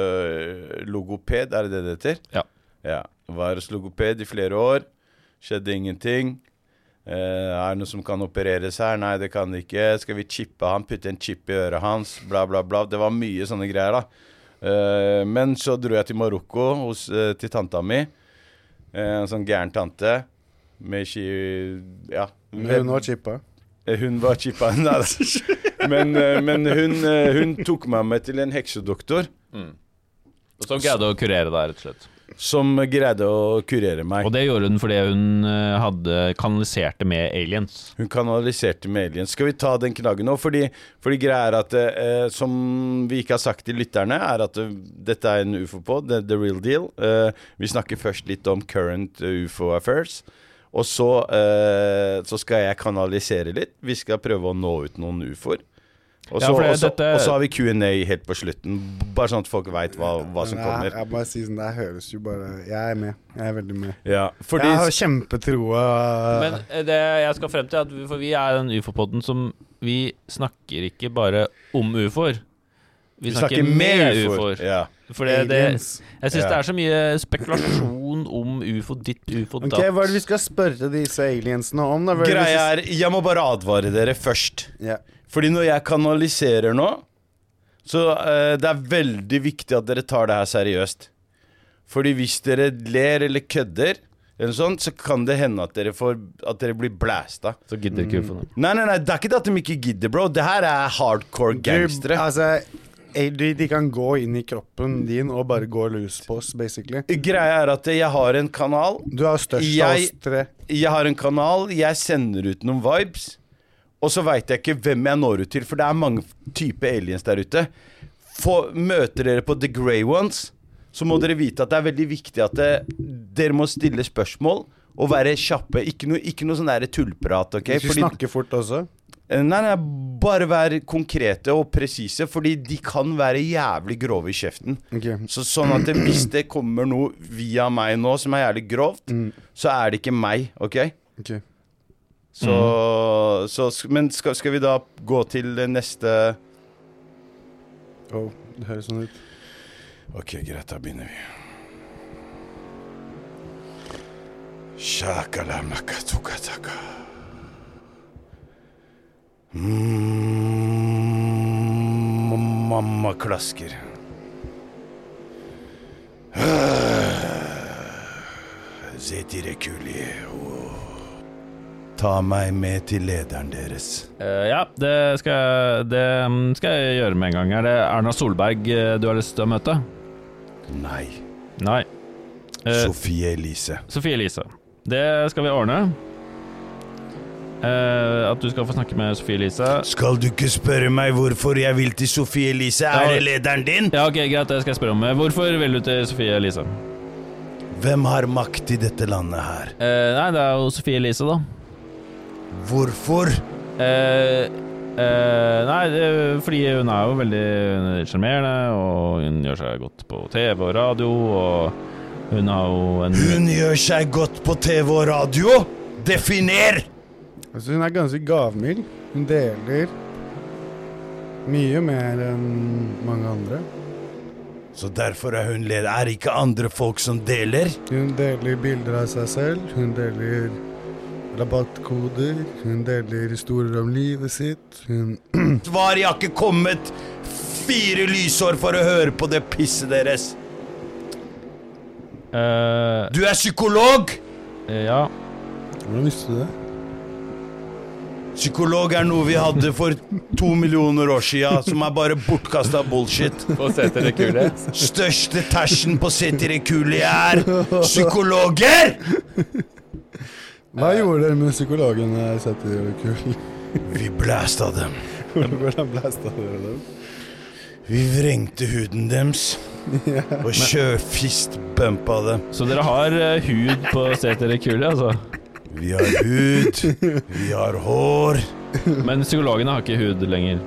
[SPEAKER 2] eh, logoped, er det det det heter?
[SPEAKER 3] Ja.
[SPEAKER 2] ja. Var hos logoped i flere år. Skjedde ingenting. Eh, er det noe som kan opereres her? Nei, det kan det ikke. Skal vi chippe han? Putte en chip i øret hans? Bla, bla, bla. Det var mye sånne greier, da. Eh, men så dro jeg til Marokko hos, eh, til tanta mi. Eh, En sånn gæren tante. Med ski... Ja.
[SPEAKER 1] Hun var chippa.
[SPEAKER 2] Eh, Hun var chippa. Nei da. Men, eh, men hun, eh, hun tok meg med til en heksedoktor
[SPEAKER 3] Mm. Som greide å kurere deg, rett og slett.
[SPEAKER 2] som greide å kurere meg.
[SPEAKER 3] Og det gjorde hun fordi hun eh, hadde kanaliserte med aliens.
[SPEAKER 2] Hun kanaliserte med aliens. Skal vi ta den knaggen nå? Fordi, fordi greia er at eh, Som vi ikke har sagt til lytterne, er at eh, dette er en ufo på. The, the real deal. Eh, vi snakker først litt om current eh, ufo affairs. Og så, eh, så skal jeg kanalisere litt. Vi skal prøve å nå ut noen ufoer. Og
[SPEAKER 3] Ja,
[SPEAKER 2] så
[SPEAKER 3] for det-
[SPEAKER 2] og så-
[SPEAKER 3] dette-
[SPEAKER 2] og så har vi Q&A helt på slutten. Bare sånn at folk veit hva, hva som
[SPEAKER 1] Men jeg-
[SPEAKER 2] kommer.
[SPEAKER 1] Jeg bare sier sånn, det høres jo bare Jeg er med. Jeg er veldig med.
[SPEAKER 2] Ja, fordi
[SPEAKER 1] Jeg har kjempetroa.
[SPEAKER 3] Men eh, det jeg skal frem til, er at vi, for vi er den ufo-podden som Vi snakker ikke bare om ufoer. Vi,
[SPEAKER 2] vi snakker med ufoer.
[SPEAKER 3] ufoer.
[SPEAKER 2] Ja.
[SPEAKER 3] For det, det,
[SPEAKER 1] Aliens.
[SPEAKER 3] jeg syns
[SPEAKER 2] Ja.
[SPEAKER 3] det er så mye spekulasjon om ufo, ditt ufo,
[SPEAKER 1] Ok,
[SPEAKER 3] datt.
[SPEAKER 1] Hva er det vi skal spørre disse aliensene om? da? Hva er det vi
[SPEAKER 2] Greia
[SPEAKER 1] skal-
[SPEAKER 2] er Jeg må bare advare dere først.
[SPEAKER 1] ja.
[SPEAKER 2] Fordi når jeg kanaliserer nå Så eh, det er veldig viktig at dere tar det her seriøst Fordi hvis dere ler eller kødder Eller sånt Så kan det hende at dere, får, at dere blir blæsta
[SPEAKER 3] Så gidder ikke ufoene.
[SPEAKER 2] Nei, nei, nei, det er ikke det at de ikke gidder, bro Det her er hardcore
[SPEAKER 1] Du,
[SPEAKER 2] gangstere
[SPEAKER 1] altså, eh, de, de kan gå inn i kroppen din og bare gå løs på oss, basically.
[SPEAKER 2] Greia er at jeg har en kanal
[SPEAKER 1] Du er størst av
[SPEAKER 2] Jeg-
[SPEAKER 1] oss tre.
[SPEAKER 2] Jeg har en kanal, jeg sender ut noen vibes Og så vet jeg ikke hvem jeg når ut til For det er mange type aliens der ute Få, Møter dere på The Grey Ones Så må dere vite at det er veldig viktig at det, Dere må stille spørsmål Og være kjappe Ikke noe, ikke noe sånn der tullprat ok?
[SPEAKER 1] Hvis vi
[SPEAKER 2] Fordi- Eh,
[SPEAKER 1] snakker fort også.
[SPEAKER 2] Nei, nei, bare vær konkrete og presise Fordi de kan være jævlig grove i kjeften
[SPEAKER 1] Ok.
[SPEAKER 2] så, sånn at det, hvis det kommer noe via meg nå som er jævlig grovt,
[SPEAKER 1] Mm.
[SPEAKER 2] så er det ikke meg, OK?
[SPEAKER 1] ok.
[SPEAKER 2] Så, så sk- Men skal, skal vi da gå til det neste
[SPEAKER 1] Å, det høres sånn ut.
[SPEAKER 2] Ok, greit, da begynner vi. Shakalamakatugataka. Mm, mamma klasker. Ah, Zetirekuli. åh. Ta meg med til lederen deres.
[SPEAKER 3] Eh, ja, det skal, jeg, det mm, skal jeg gjøre med en gang. Er det Erna Solberg eh, du har lyst til å møte?
[SPEAKER 2] Nei.
[SPEAKER 3] Nei. Eh,
[SPEAKER 2] Sofie Elise.
[SPEAKER 3] Sofie Elise. Det skal vi ordne. Eh, at du skal få snakke med Sofie Elise.
[SPEAKER 2] Skal du ikke spørre meg hvorfor jeg vil til Sofie Elise?
[SPEAKER 3] Ja.
[SPEAKER 2] Er det lederen din?
[SPEAKER 3] Ja, ok, Greit, det skal jeg spørre om. Eh, Hvorfor vil du til Sofie Elise?
[SPEAKER 2] Hvem har makt i dette landet her?
[SPEAKER 3] Eh, nei, det er jo Sofie Elise, da.
[SPEAKER 2] Hvorfor?
[SPEAKER 3] Eh, eh, nei, det- fordi hun er jo veldig sjarmerende, og hun gjør seg godt på TV og radio, og hun har jo en
[SPEAKER 2] Hun gjør seg godt på TV og radio. Definer!
[SPEAKER 1] Altså, hun er ganske gavmild. Hun deler mye mer enn mange andre.
[SPEAKER 2] Så derfor er hun leder. Er det ikke andre folk som deler?
[SPEAKER 1] Hun deler bilder av seg selv. Hun deler Rabattkoder. Hun deler historier om livet sitt. Hun
[SPEAKER 2] Svar, jeg har ikke kommet fire lysår for å høre på det pisset deres.
[SPEAKER 3] Eh,
[SPEAKER 2] Du er psykolog!
[SPEAKER 3] ja.
[SPEAKER 1] Hvordan visste du det?
[SPEAKER 2] Psykolog er noe vi hadde for to millioner år sia, som er bare bortkasta bullshit.
[SPEAKER 3] Få se til det kule.
[SPEAKER 2] Største tersen på Setirikuli er psykologer!
[SPEAKER 1] Hva gjorde dere med psykologen jeg setter i kull?
[SPEAKER 2] Vi blæsta dem.
[SPEAKER 1] Hvordan blæsta dere dem?
[SPEAKER 2] Vi vrengte huden deres og sjøfistbumpa dem.
[SPEAKER 3] Så dere har eh, hud på Se til det kule, altså.
[SPEAKER 2] Vi har hud, vi har hår.
[SPEAKER 3] Men psykologene har ikke hud lenger.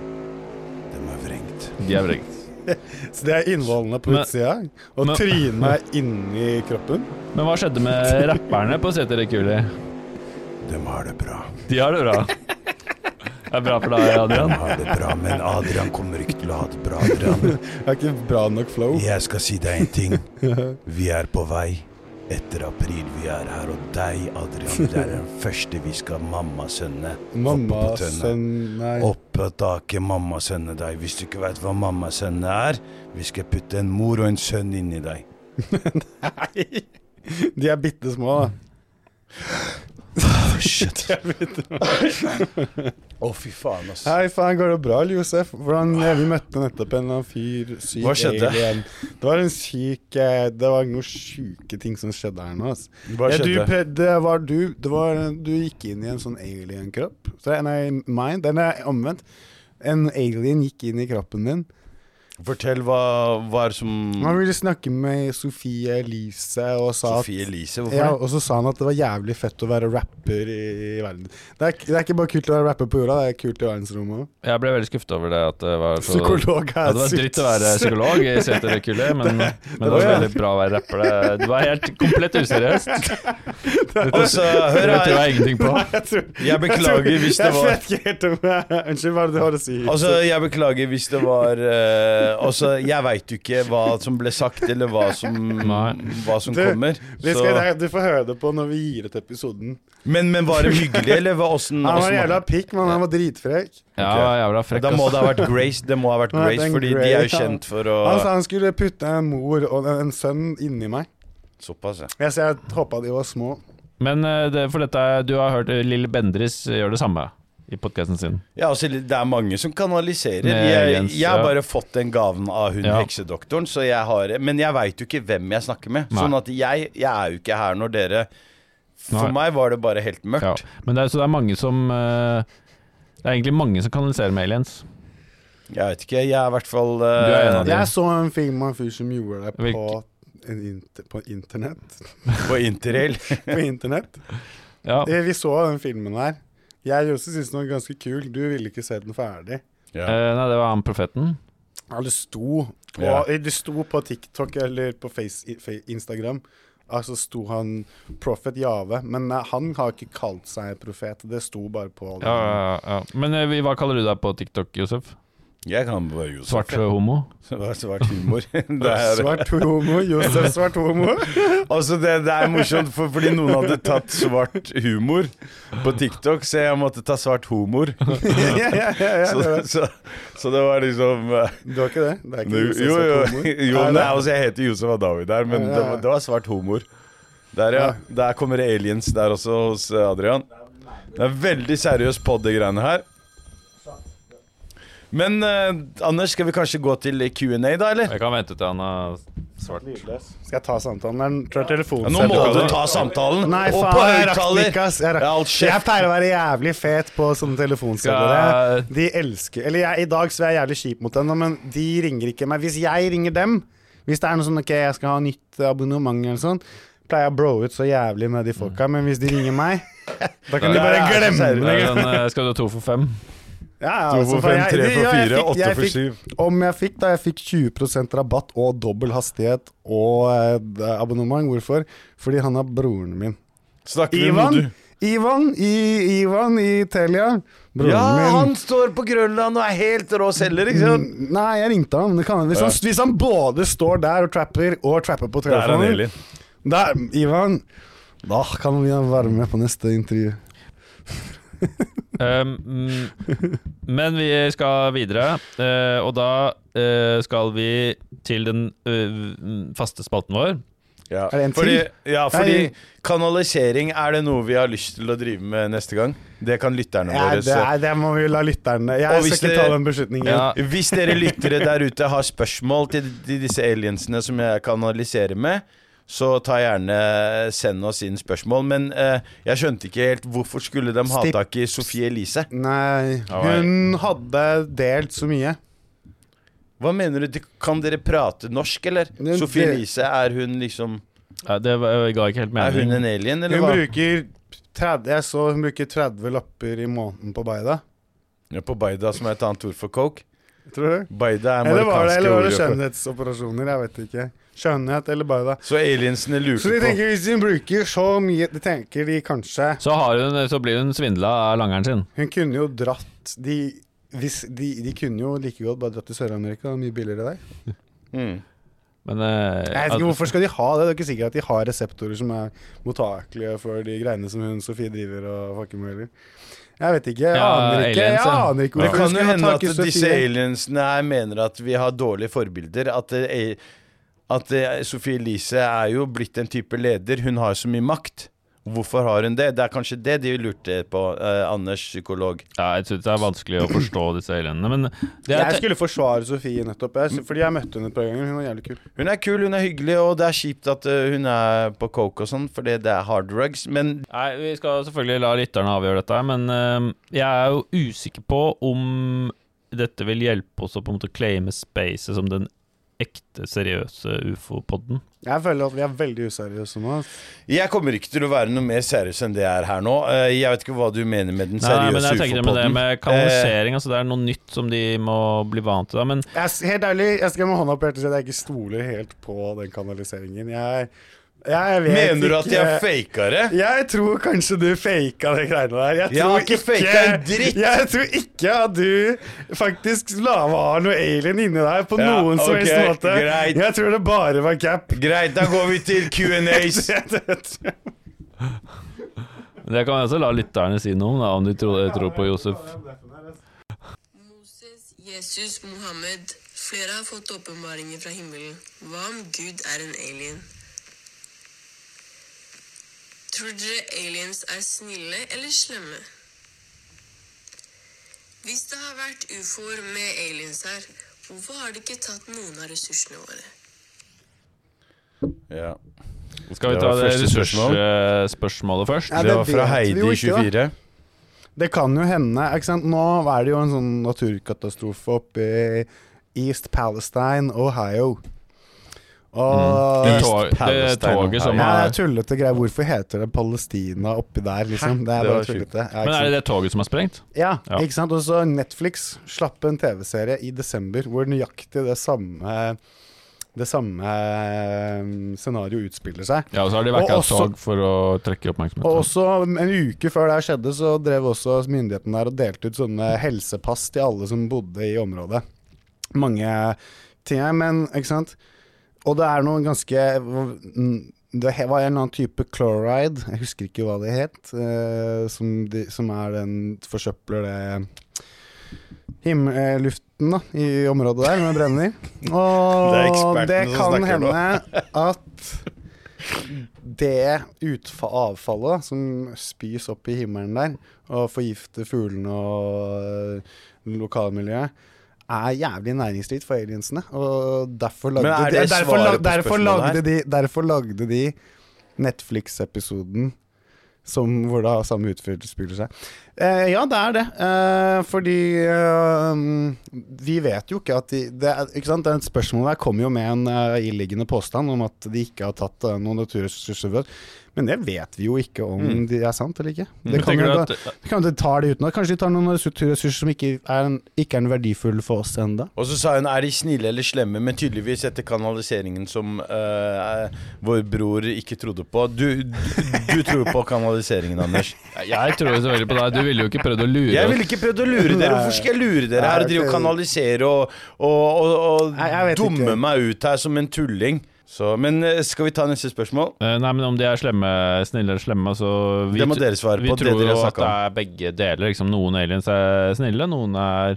[SPEAKER 2] Dem er vrengt.
[SPEAKER 3] De er vrengt.
[SPEAKER 1] Så det er innvollene på
[SPEAKER 3] Men-
[SPEAKER 1] utsida, og
[SPEAKER 3] men-
[SPEAKER 1] trynet er inni kroppen?
[SPEAKER 3] Men hva skjedde med rapperne på Se til det kule?
[SPEAKER 2] Dem har det bra.
[SPEAKER 3] De har det bra. Det er bra for deg,
[SPEAKER 2] Dem
[SPEAKER 3] Adrian.
[SPEAKER 2] har det bra, men Adrian kommer ikke til å ha det bra. Adrian.
[SPEAKER 1] Jeg har ikke bra nok flow.
[SPEAKER 2] Jeg skal si deg en ting. Vi er på vei. Etter april vi er her, og deg, Adrian, det er den første vi skal mammasønne.
[SPEAKER 1] Mamma,
[SPEAKER 2] oppe på tønne.
[SPEAKER 1] sønn Nei.
[SPEAKER 2] Opp på taket, mammasønne deg. Hvis du ikke veit hva mammasønne er, vi skal putte en mor og en sønn inni deg.
[SPEAKER 1] De er bitte små, da.
[SPEAKER 2] Å, shit. Å, fy faen, ass.
[SPEAKER 1] Hei, faen, går det bra, eller, Josef? Hvordan, eh, vi møtte nettopp en eller annen fyr syk
[SPEAKER 2] Hva skjedde?
[SPEAKER 1] alien. Det var en syk eh, Det var noen sjuke ting som skjedde her nå, ass.
[SPEAKER 2] Hva
[SPEAKER 1] Ja, Du,
[SPEAKER 2] skjedde?
[SPEAKER 1] pre- det var du, det var, du gikk inn i en sånn alien-kropp. Så, Nei, mine. Den er omvendt. En alien gikk inn i kroppen din.
[SPEAKER 2] Fortell hva, hva er som
[SPEAKER 1] Han ville snakke med Sofie Elise og sa at
[SPEAKER 2] Sofie Elise,
[SPEAKER 1] ja,
[SPEAKER 2] hvorfor?
[SPEAKER 1] og så sa han at det var jævlig fett å være rapper i, i verden. Det er, det er ikke bare kult å være rapper på jorda, det er kult i verdensrommet òg.
[SPEAKER 3] Jeg ble veldig skuffet over det at det var så
[SPEAKER 1] Psykolog
[SPEAKER 3] ja,
[SPEAKER 1] er
[SPEAKER 3] det var
[SPEAKER 1] sykt.
[SPEAKER 3] dritt å være psykolog i Se til det kule, men, men det
[SPEAKER 1] var jeg.
[SPEAKER 3] var veldig bra å være rapper. Det- Det var helt komplett useriøst.
[SPEAKER 2] Og så, Altså, hør
[SPEAKER 3] Det tror
[SPEAKER 2] her,
[SPEAKER 3] jeg ingenting på.
[SPEAKER 1] Jeg, tror,
[SPEAKER 2] jeg beklager hvis det var
[SPEAKER 1] Jeg vet ikke helt om jeg Unnskyld, hva er det du har å si?
[SPEAKER 2] Altså, jeg beklager hvis det var eh, Altså, jeg veit jo ikke hva som ble sagt, eller hva som,
[SPEAKER 3] Nei.
[SPEAKER 2] hva som
[SPEAKER 1] Du,
[SPEAKER 2] kommer.
[SPEAKER 1] Vi skal,
[SPEAKER 2] Så.
[SPEAKER 1] Du får høre det på når vi gir ut episoden.
[SPEAKER 2] Men, men var det hyggelig, eller hva, åssen
[SPEAKER 1] Han var
[SPEAKER 2] åssen-
[SPEAKER 1] en jævla pikk, men han var dritfrekk.
[SPEAKER 3] Ja, jævla frekk. altså.
[SPEAKER 2] Da må
[SPEAKER 3] ass.
[SPEAKER 2] det ha vært Grace, det må ha vært
[SPEAKER 1] Ja,
[SPEAKER 2] Grace,
[SPEAKER 1] den
[SPEAKER 2] fordi de
[SPEAKER 1] Grace,
[SPEAKER 2] er jo
[SPEAKER 1] ja.
[SPEAKER 2] kjent for å
[SPEAKER 1] Han sa han skulle putte en mor og en, en sønn inni meg.
[SPEAKER 2] Såpass, ja.
[SPEAKER 1] Jeg, så jeg håpa de var små.
[SPEAKER 3] Men eh, det, for dette, er- du har hørt eh, Lille Bendris gjør det samme i podkasten sin.
[SPEAKER 2] ja altså, det er mange som kanaliserer.
[SPEAKER 3] Med
[SPEAKER 2] Jeg,
[SPEAKER 3] Jens,
[SPEAKER 2] jeg har
[SPEAKER 3] ja.
[SPEAKER 2] bare fått den gaven av hun
[SPEAKER 3] Ja.
[SPEAKER 2] heksedoktoren, så jeg har Men jeg veit jo ikke hvem jeg snakker med.
[SPEAKER 3] Nei.
[SPEAKER 2] Sånn at jeg, jeg er jo ikke her når dere For
[SPEAKER 3] Nei.
[SPEAKER 2] meg var det bare helt
[SPEAKER 3] Ja.
[SPEAKER 2] mørkt.
[SPEAKER 3] Men det er, så det er mange som eh, Det er egentlig mange som kanaliserer med aliens.
[SPEAKER 2] Jeg vet ikke, jeg er i hvert fall
[SPEAKER 3] Du er en av
[SPEAKER 2] eh,
[SPEAKER 3] de.
[SPEAKER 1] Jeg så en film av en fyr som gjorde det på,
[SPEAKER 3] Hvilken?
[SPEAKER 1] en inter, på internett.
[SPEAKER 2] på interrail.
[SPEAKER 1] På internett.
[SPEAKER 3] Ja,
[SPEAKER 1] Eh, Vi så den filmen her. Jeg også syntes den var ganske kul. Du ville ikke se den ferdig.
[SPEAKER 3] Eh, Nei, det var han profeten.
[SPEAKER 1] Ja, det sto på,
[SPEAKER 2] Ja.
[SPEAKER 1] Eh, det sto på TikTok eller på face, i- fe- Instagram. Altså sto han Prophet Jave, men eh, han har ikke kalt seg profet. Det sto bare på
[SPEAKER 3] Ja, ja, ja. Men eh, vi- hva kaller du deg på TikTok, Josef?
[SPEAKER 2] Jeg kan bare Josef.
[SPEAKER 3] Svart homo?
[SPEAKER 2] Det var svart humor. Det er,
[SPEAKER 1] Svart homo, Josef svart homo.
[SPEAKER 2] altså det, det er morsomt, for, fordi noen hadde tatt svart humor på TikTok, så jeg måtte ta svart humor.
[SPEAKER 1] ja, ja, ja, ja,
[SPEAKER 2] Så,
[SPEAKER 1] det var-
[SPEAKER 2] så, så det var liksom eh,
[SPEAKER 1] Du har ikke det? Det er ikke
[SPEAKER 2] Jo,
[SPEAKER 1] Josef svart homo.
[SPEAKER 2] jo, jo,
[SPEAKER 1] Nei,
[SPEAKER 2] nei,
[SPEAKER 1] det-
[SPEAKER 2] altså Jeg heter Josef Adawi der, men
[SPEAKER 1] Ja,
[SPEAKER 2] det
[SPEAKER 1] ja.
[SPEAKER 2] var, det var svart humor. Der, ja. Der kommer det aliens der også, hos eh, Adrian. Det er veldig seriøst på det greiene her. Men eh, Anders, skal vi kanskje gå til Q&A, da, eller?
[SPEAKER 3] Jeg kan vente til han har svart.
[SPEAKER 1] Skal jeg ta samtalen? Den tror jeg telefonen
[SPEAKER 2] Ja, nå må
[SPEAKER 1] setter
[SPEAKER 2] du
[SPEAKER 1] på.
[SPEAKER 2] ta samtalen.
[SPEAKER 1] Nei,
[SPEAKER 2] og
[SPEAKER 1] faen,
[SPEAKER 2] på
[SPEAKER 1] jeg rakk den
[SPEAKER 2] høyttaler.
[SPEAKER 1] ikke, ass. Jeg, rakk.
[SPEAKER 2] Ja, hold kjeft.
[SPEAKER 1] jeg pleier å være jævlig fet på sånne telefonselgere.
[SPEAKER 3] Skal-
[SPEAKER 1] De elsker Eller jeg, i dag så er jeg jævlig kjip mot dem, men de ringer ikke meg. Hvis jeg ringer dem, hvis det er noe sånn ok, jeg skal ha nytt abonnement eller sånn, pleier jeg å bro ut så jævlig med de folka, men hvis de ringer meg da kan de
[SPEAKER 2] Ja,
[SPEAKER 1] bare
[SPEAKER 2] ja, ja,
[SPEAKER 1] glemme
[SPEAKER 3] Det
[SPEAKER 1] det.
[SPEAKER 3] er den, eh, skal du ha to for fem?
[SPEAKER 1] Ja, ja,
[SPEAKER 2] To
[SPEAKER 1] altså,
[SPEAKER 2] for
[SPEAKER 1] for
[SPEAKER 2] fem,
[SPEAKER 1] jeg-
[SPEAKER 2] tre
[SPEAKER 1] de-
[SPEAKER 2] for
[SPEAKER 1] ja, jeg
[SPEAKER 2] fire,
[SPEAKER 1] fikk-
[SPEAKER 2] åtte
[SPEAKER 1] jeg
[SPEAKER 2] for
[SPEAKER 1] fikk-
[SPEAKER 2] syv.
[SPEAKER 1] Om jeg fikk, da. Jeg fikk 20 rabatt og dobbel hastighet og eh, abonnement. Hvorfor? Fordi han er broren min.
[SPEAKER 2] Snakker vi om
[SPEAKER 1] Ivan,
[SPEAKER 2] du?
[SPEAKER 1] Ivan i, Ivan i Telia. Broren
[SPEAKER 2] Ja,
[SPEAKER 1] min.
[SPEAKER 2] han står på Grønland og er helt rå selger, ikke sant?
[SPEAKER 1] Mm, Nei, jeg ringte han. men Det kan, han- hvis, han hvis han både står der og trapper og trapper på telefonen Der, Ivan. Da kan vi være med på neste intervju.
[SPEAKER 3] Um, mm, men vi skal videre, eh, og da eh, skal vi til den eh, faste spalten vår.
[SPEAKER 2] Ja.
[SPEAKER 1] Er det en til?
[SPEAKER 2] fordi, Ja, fordi
[SPEAKER 1] Nei.
[SPEAKER 2] kanalisering, er det noe vi har lyst til å drive med neste gang? Det kan lytterne
[SPEAKER 1] Nei,
[SPEAKER 2] våre
[SPEAKER 1] det,
[SPEAKER 2] se.
[SPEAKER 1] er, det må vi la lytterne
[SPEAKER 2] Og
[SPEAKER 1] Jeg skal
[SPEAKER 2] hvis
[SPEAKER 1] ikke
[SPEAKER 2] dere-
[SPEAKER 1] ta den beslutningen.
[SPEAKER 3] Ja.
[SPEAKER 2] Hvis dere lyttere der ute har spørsmål til til disse aliensene som jeg kanaliserer med, så ta gjerne send oss inn spørsmål. Men eh, jeg skjønte ikke helt hvorfor skulle de ha
[SPEAKER 1] Stipp-
[SPEAKER 2] tak i Sofie Elise?
[SPEAKER 1] Nei,
[SPEAKER 3] nei.
[SPEAKER 1] hun hadde delt så mye.
[SPEAKER 2] Hva mener du? De- Kan dere prate norsk, eller?
[SPEAKER 1] Det-
[SPEAKER 2] Sofie
[SPEAKER 1] det-
[SPEAKER 2] Elise, er hun liksom
[SPEAKER 3] Ja, det var- eh, ga ikke helt
[SPEAKER 2] Er hun
[SPEAKER 3] mening.
[SPEAKER 2] en alien, eller
[SPEAKER 1] Hun
[SPEAKER 2] hva?
[SPEAKER 1] bruker 30, Jeg så hun bruker 30 lapper i måneden på Baida.
[SPEAKER 2] Ja, på Baida, som er et annet ord for coke.
[SPEAKER 1] Tror du?
[SPEAKER 2] Baida er
[SPEAKER 1] Eller var det,
[SPEAKER 2] marokkanske
[SPEAKER 1] eller var det
[SPEAKER 2] ordet for
[SPEAKER 1] skjønnhetsoperasjoner? Jeg vet ikke. Skjønnhet eller Baida.
[SPEAKER 2] Så aliensene
[SPEAKER 1] Så de
[SPEAKER 2] lurte på
[SPEAKER 1] tenker hvis hun bruker så mye De tenker de kanskje
[SPEAKER 3] Så, har hun, så blir hun svindla av langeren sin.
[SPEAKER 1] Hun kunne jo dratt De, hvis, de, de kunne jo like godt bare dratt til Sør-Amerika. Det er Mye billigere der.
[SPEAKER 2] mm.
[SPEAKER 3] Men eh,
[SPEAKER 1] Jeg vet
[SPEAKER 3] at-
[SPEAKER 2] altså-
[SPEAKER 1] ikke Hvorfor skal de ha det? Det er ikke sikkert at de har reseptorer som er mottakelige for de greiene som hun Sofie driver og fucker med heller. Jeg vet ikke. Jeg
[SPEAKER 3] Ja,
[SPEAKER 1] aner ikke. Jeg
[SPEAKER 3] aliens, ja.
[SPEAKER 1] aner ikke
[SPEAKER 2] Det
[SPEAKER 1] hvorfor
[SPEAKER 2] kan
[SPEAKER 1] hun
[SPEAKER 2] jo
[SPEAKER 1] skal ha
[SPEAKER 2] hende at
[SPEAKER 1] tak i
[SPEAKER 2] disse
[SPEAKER 1] Sofie.
[SPEAKER 2] aliensene her mener at vi har dårlige forbilder. At, det er- at det- Sophie Elise er jo blitt en type leder. Hun har så mye makt. Hvorfor har hun det? Det er kanskje det de lurte på, eh, Anders, psykolog.
[SPEAKER 3] ja, jeg synes det er vanskelig å forstå disse alienene. Men det
[SPEAKER 1] Jeg
[SPEAKER 3] er,
[SPEAKER 1] skulle forsvare Sofie nettopp, jeg, fordi jeg møtte henne et par ganger. Hun var jævlig kul.
[SPEAKER 2] Hun er kul, hun er hyggelig, og det er kjipt at eh, hun er på coke og sånn, fordi det er hard drugs. Men
[SPEAKER 3] nei, vi skal selvfølgelig la lytterne avgjøre dette, her, men eh, jeg er jo usikker på om dette vil hjelpe oss å på en måte claime spacet som den ekte, seriøse ufo-podden.
[SPEAKER 1] Jeg føler at vi er veldig useriøse nå.
[SPEAKER 2] jeg kommer ikke til å være noe mer seriøs enn det jeg er her nå. Eh, Jeg vet ikke hva du mener med den
[SPEAKER 3] Nei, men
[SPEAKER 2] seriøse
[SPEAKER 3] jeg tenker det med det
[SPEAKER 2] ufo-podden. Eh,
[SPEAKER 3] med kanalisering, altså det er noe nytt som de må bli vant til. Da. Men
[SPEAKER 1] Jeg, s- helt ærlig, jeg skal med hånda på hjertet si at jeg ikke stoler helt på den kanaliseringen. Jeg, jeg vet
[SPEAKER 2] Mener du at
[SPEAKER 1] ikke-
[SPEAKER 2] jeg har faka det?
[SPEAKER 1] Jeg tror kanskje du faka de greiene der. Jeg,
[SPEAKER 2] Jeg
[SPEAKER 1] tror
[SPEAKER 2] har ikke faket en dritt.
[SPEAKER 1] Jeg tror ikke at du faktisk la var noe alien inni deg på
[SPEAKER 2] Ja,
[SPEAKER 1] noen som
[SPEAKER 2] ok,
[SPEAKER 1] helst måte.
[SPEAKER 2] greit.
[SPEAKER 1] Jeg tror det bare var cap.
[SPEAKER 2] Greit, da går vi til Q&As.
[SPEAKER 3] det kan jeg også la lytterne si noe om, da, om de tror, tror på Josef.
[SPEAKER 5] Moses, Jesus, Mohammed. Flere har fått åpenbaringer fra himmelen. Hva om Gud er en alien? Tror dere aliens er snille eller slemme? Hvis det har vært ufoer med aliens her, hvorfor har de ikke tatt noen av ressursene våre?
[SPEAKER 2] Ja.
[SPEAKER 3] Skal vi
[SPEAKER 2] Det
[SPEAKER 3] ta
[SPEAKER 2] var
[SPEAKER 3] det
[SPEAKER 2] første spørsmål.
[SPEAKER 3] ressursspørsmålet først?
[SPEAKER 1] Ja,
[SPEAKER 2] det
[SPEAKER 1] det
[SPEAKER 2] var fra
[SPEAKER 1] vet vi jo
[SPEAKER 2] Heidi,
[SPEAKER 1] ikke, da.
[SPEAKER 2] 24.
[SPEAKER 1] Det kan jo hende. Ikke sant? Nå er det jo en sånn naturkatastrofe oppe i East Palestine, Ohio. Og
[SPEAKER 3] Det,
[SPEAKER 2] East
[SPEAKER 3] tog, det
[SPEAKER 2] Palestine,
[SPEAKER 3] toget som
[SPEAKER 1] ja, det
[SPEAKER 3] har
[SPEAKER 1] er tullete greier. Hvorfor heter det Palestina oppi der, liksom? Det er bare
[SPEAKER 2] Det var sjukt.
[SPEAKER 1] tullete. Ja,
[SPEAKER 3] Men
[SPEAKER 1] ikke
[SPEAKER 3] er
[SPEAKER 1] sant?
[SPEAKER 3] det det toget som er sprengt?
[SPEAKER 1] Ja,
[SPEAKER 3] Ja.
[SPEAKER 1] ikke sant? Og så Netflix slapp en TV-serie i desember hvor nøyaktig det samme det samme eh, scenarioet utspiller seg.
[SPEAKER 3] Ja, og så har de
[SPEAKER 1] Og
[SPEAKER 3] vekka et
[SPEAKER 1] også-
[SPEAKER 3] tog for å trekke oppmerksomheten.
[SPEAKER 1] Og også um, En uke før det her skjedde, så drev også myndighetene der og delte ut sånne helsepass til alle som bodde i området. Mange ting her, men ikke sant. Og det er noe ganske mm, Det he- var en eller annen type chloride, jeg husker ikke hva det het, eh, som, de, som er den forsøpler det himmel- eh, luften da, i området der når det brenner. Og
[SPEAKER 2] Det er ekspertene
[SPEAKER 1] det kan
[SPEAKER 2] som snakker nå.
[SPEAKER 1] hende at det utfa avfallet da, som spys opp i himmelen der, og forgifter fuglene og eh, lokalmiljøet, er jævlig næringsrikt for aliensene. Og derfor lagde,
[SPEAKER 2] er
[SPEAKER 1] de,
[SPEAKER 2] det
[SPEAKER 1] derfor,
[SPEAKER 2] svaret
[SPEAKER 1] lag-
[SPEAKER 2] på
[SPEAKER 1] derfor,
[SPEAKER 2] spørsmålet her?
[SPEAKER 1] lagde de, derfor lagde de Netflix-episoden som, hvor det har samme utfyllelse spiller seg. Eh, ja, det er det. Eh, fordi eh, vi vet jo ikke at de det, er- ikke sant? det Spørsmålet her kommer jo med en eh, iliggende påstand om at de ikke har tatt eh, noen naturressurser før. Men det vet vi jo ikke om det er sant eller ikke. Det kan
[SPEAKER 3] tenker
[SPEAKER 1] jo
[SPEAKER 3] du
[SPEAKER 1] da-
[SPEAKER 3] at-
[SPEAKER 1] det kan jo de tar det utenat. Kanskje de tar noen naturressurser som ikke er, en, ikke er en verdifull for oss enda
[SPEAKER 2] Og så sa hun 'er de snille eller slemme', men tydeligvis etter kanaliseringen som eh, vår bror ikke trodde på. Du, du, du tror på kanaliseringen, Anders.
[SPEAKER 3] Jeg tror jo selvfølgelig på deg. Du ville jo ikke prøvd å lure
[SPEAKER 2] Jeg
[SPEAKER 3] oss.
[SPEAKER 2] ville ikke prøvd å lure dere. Hvorfor skal jeg lure dere her og drive og kanalisere og, og, og, og
[SPEAKER 1] Nei, jeg vet
[SPEAKER 2] dumme
[SPEAKER 1] ikke.
[SPEAKER 2] meg ut her som en tulling? Så, men eh, skal vi ta neste spørsmål?
[SPEAKER 3] Eh, Nei, men om de er slemme, snille eller slemme så vi,
[SPEAKER 2] Det må dere svare
[SPEAKER 3] vi
[SPEAKER 2] på, det
[SPEAKER 3] tror
[SPEAKER 2] dere
[SPEAKER 3] jo
[SPEAKER 2] har
[SPEAKER 3] at det er begge deler. Liksom, noen aliens er snille, noen er,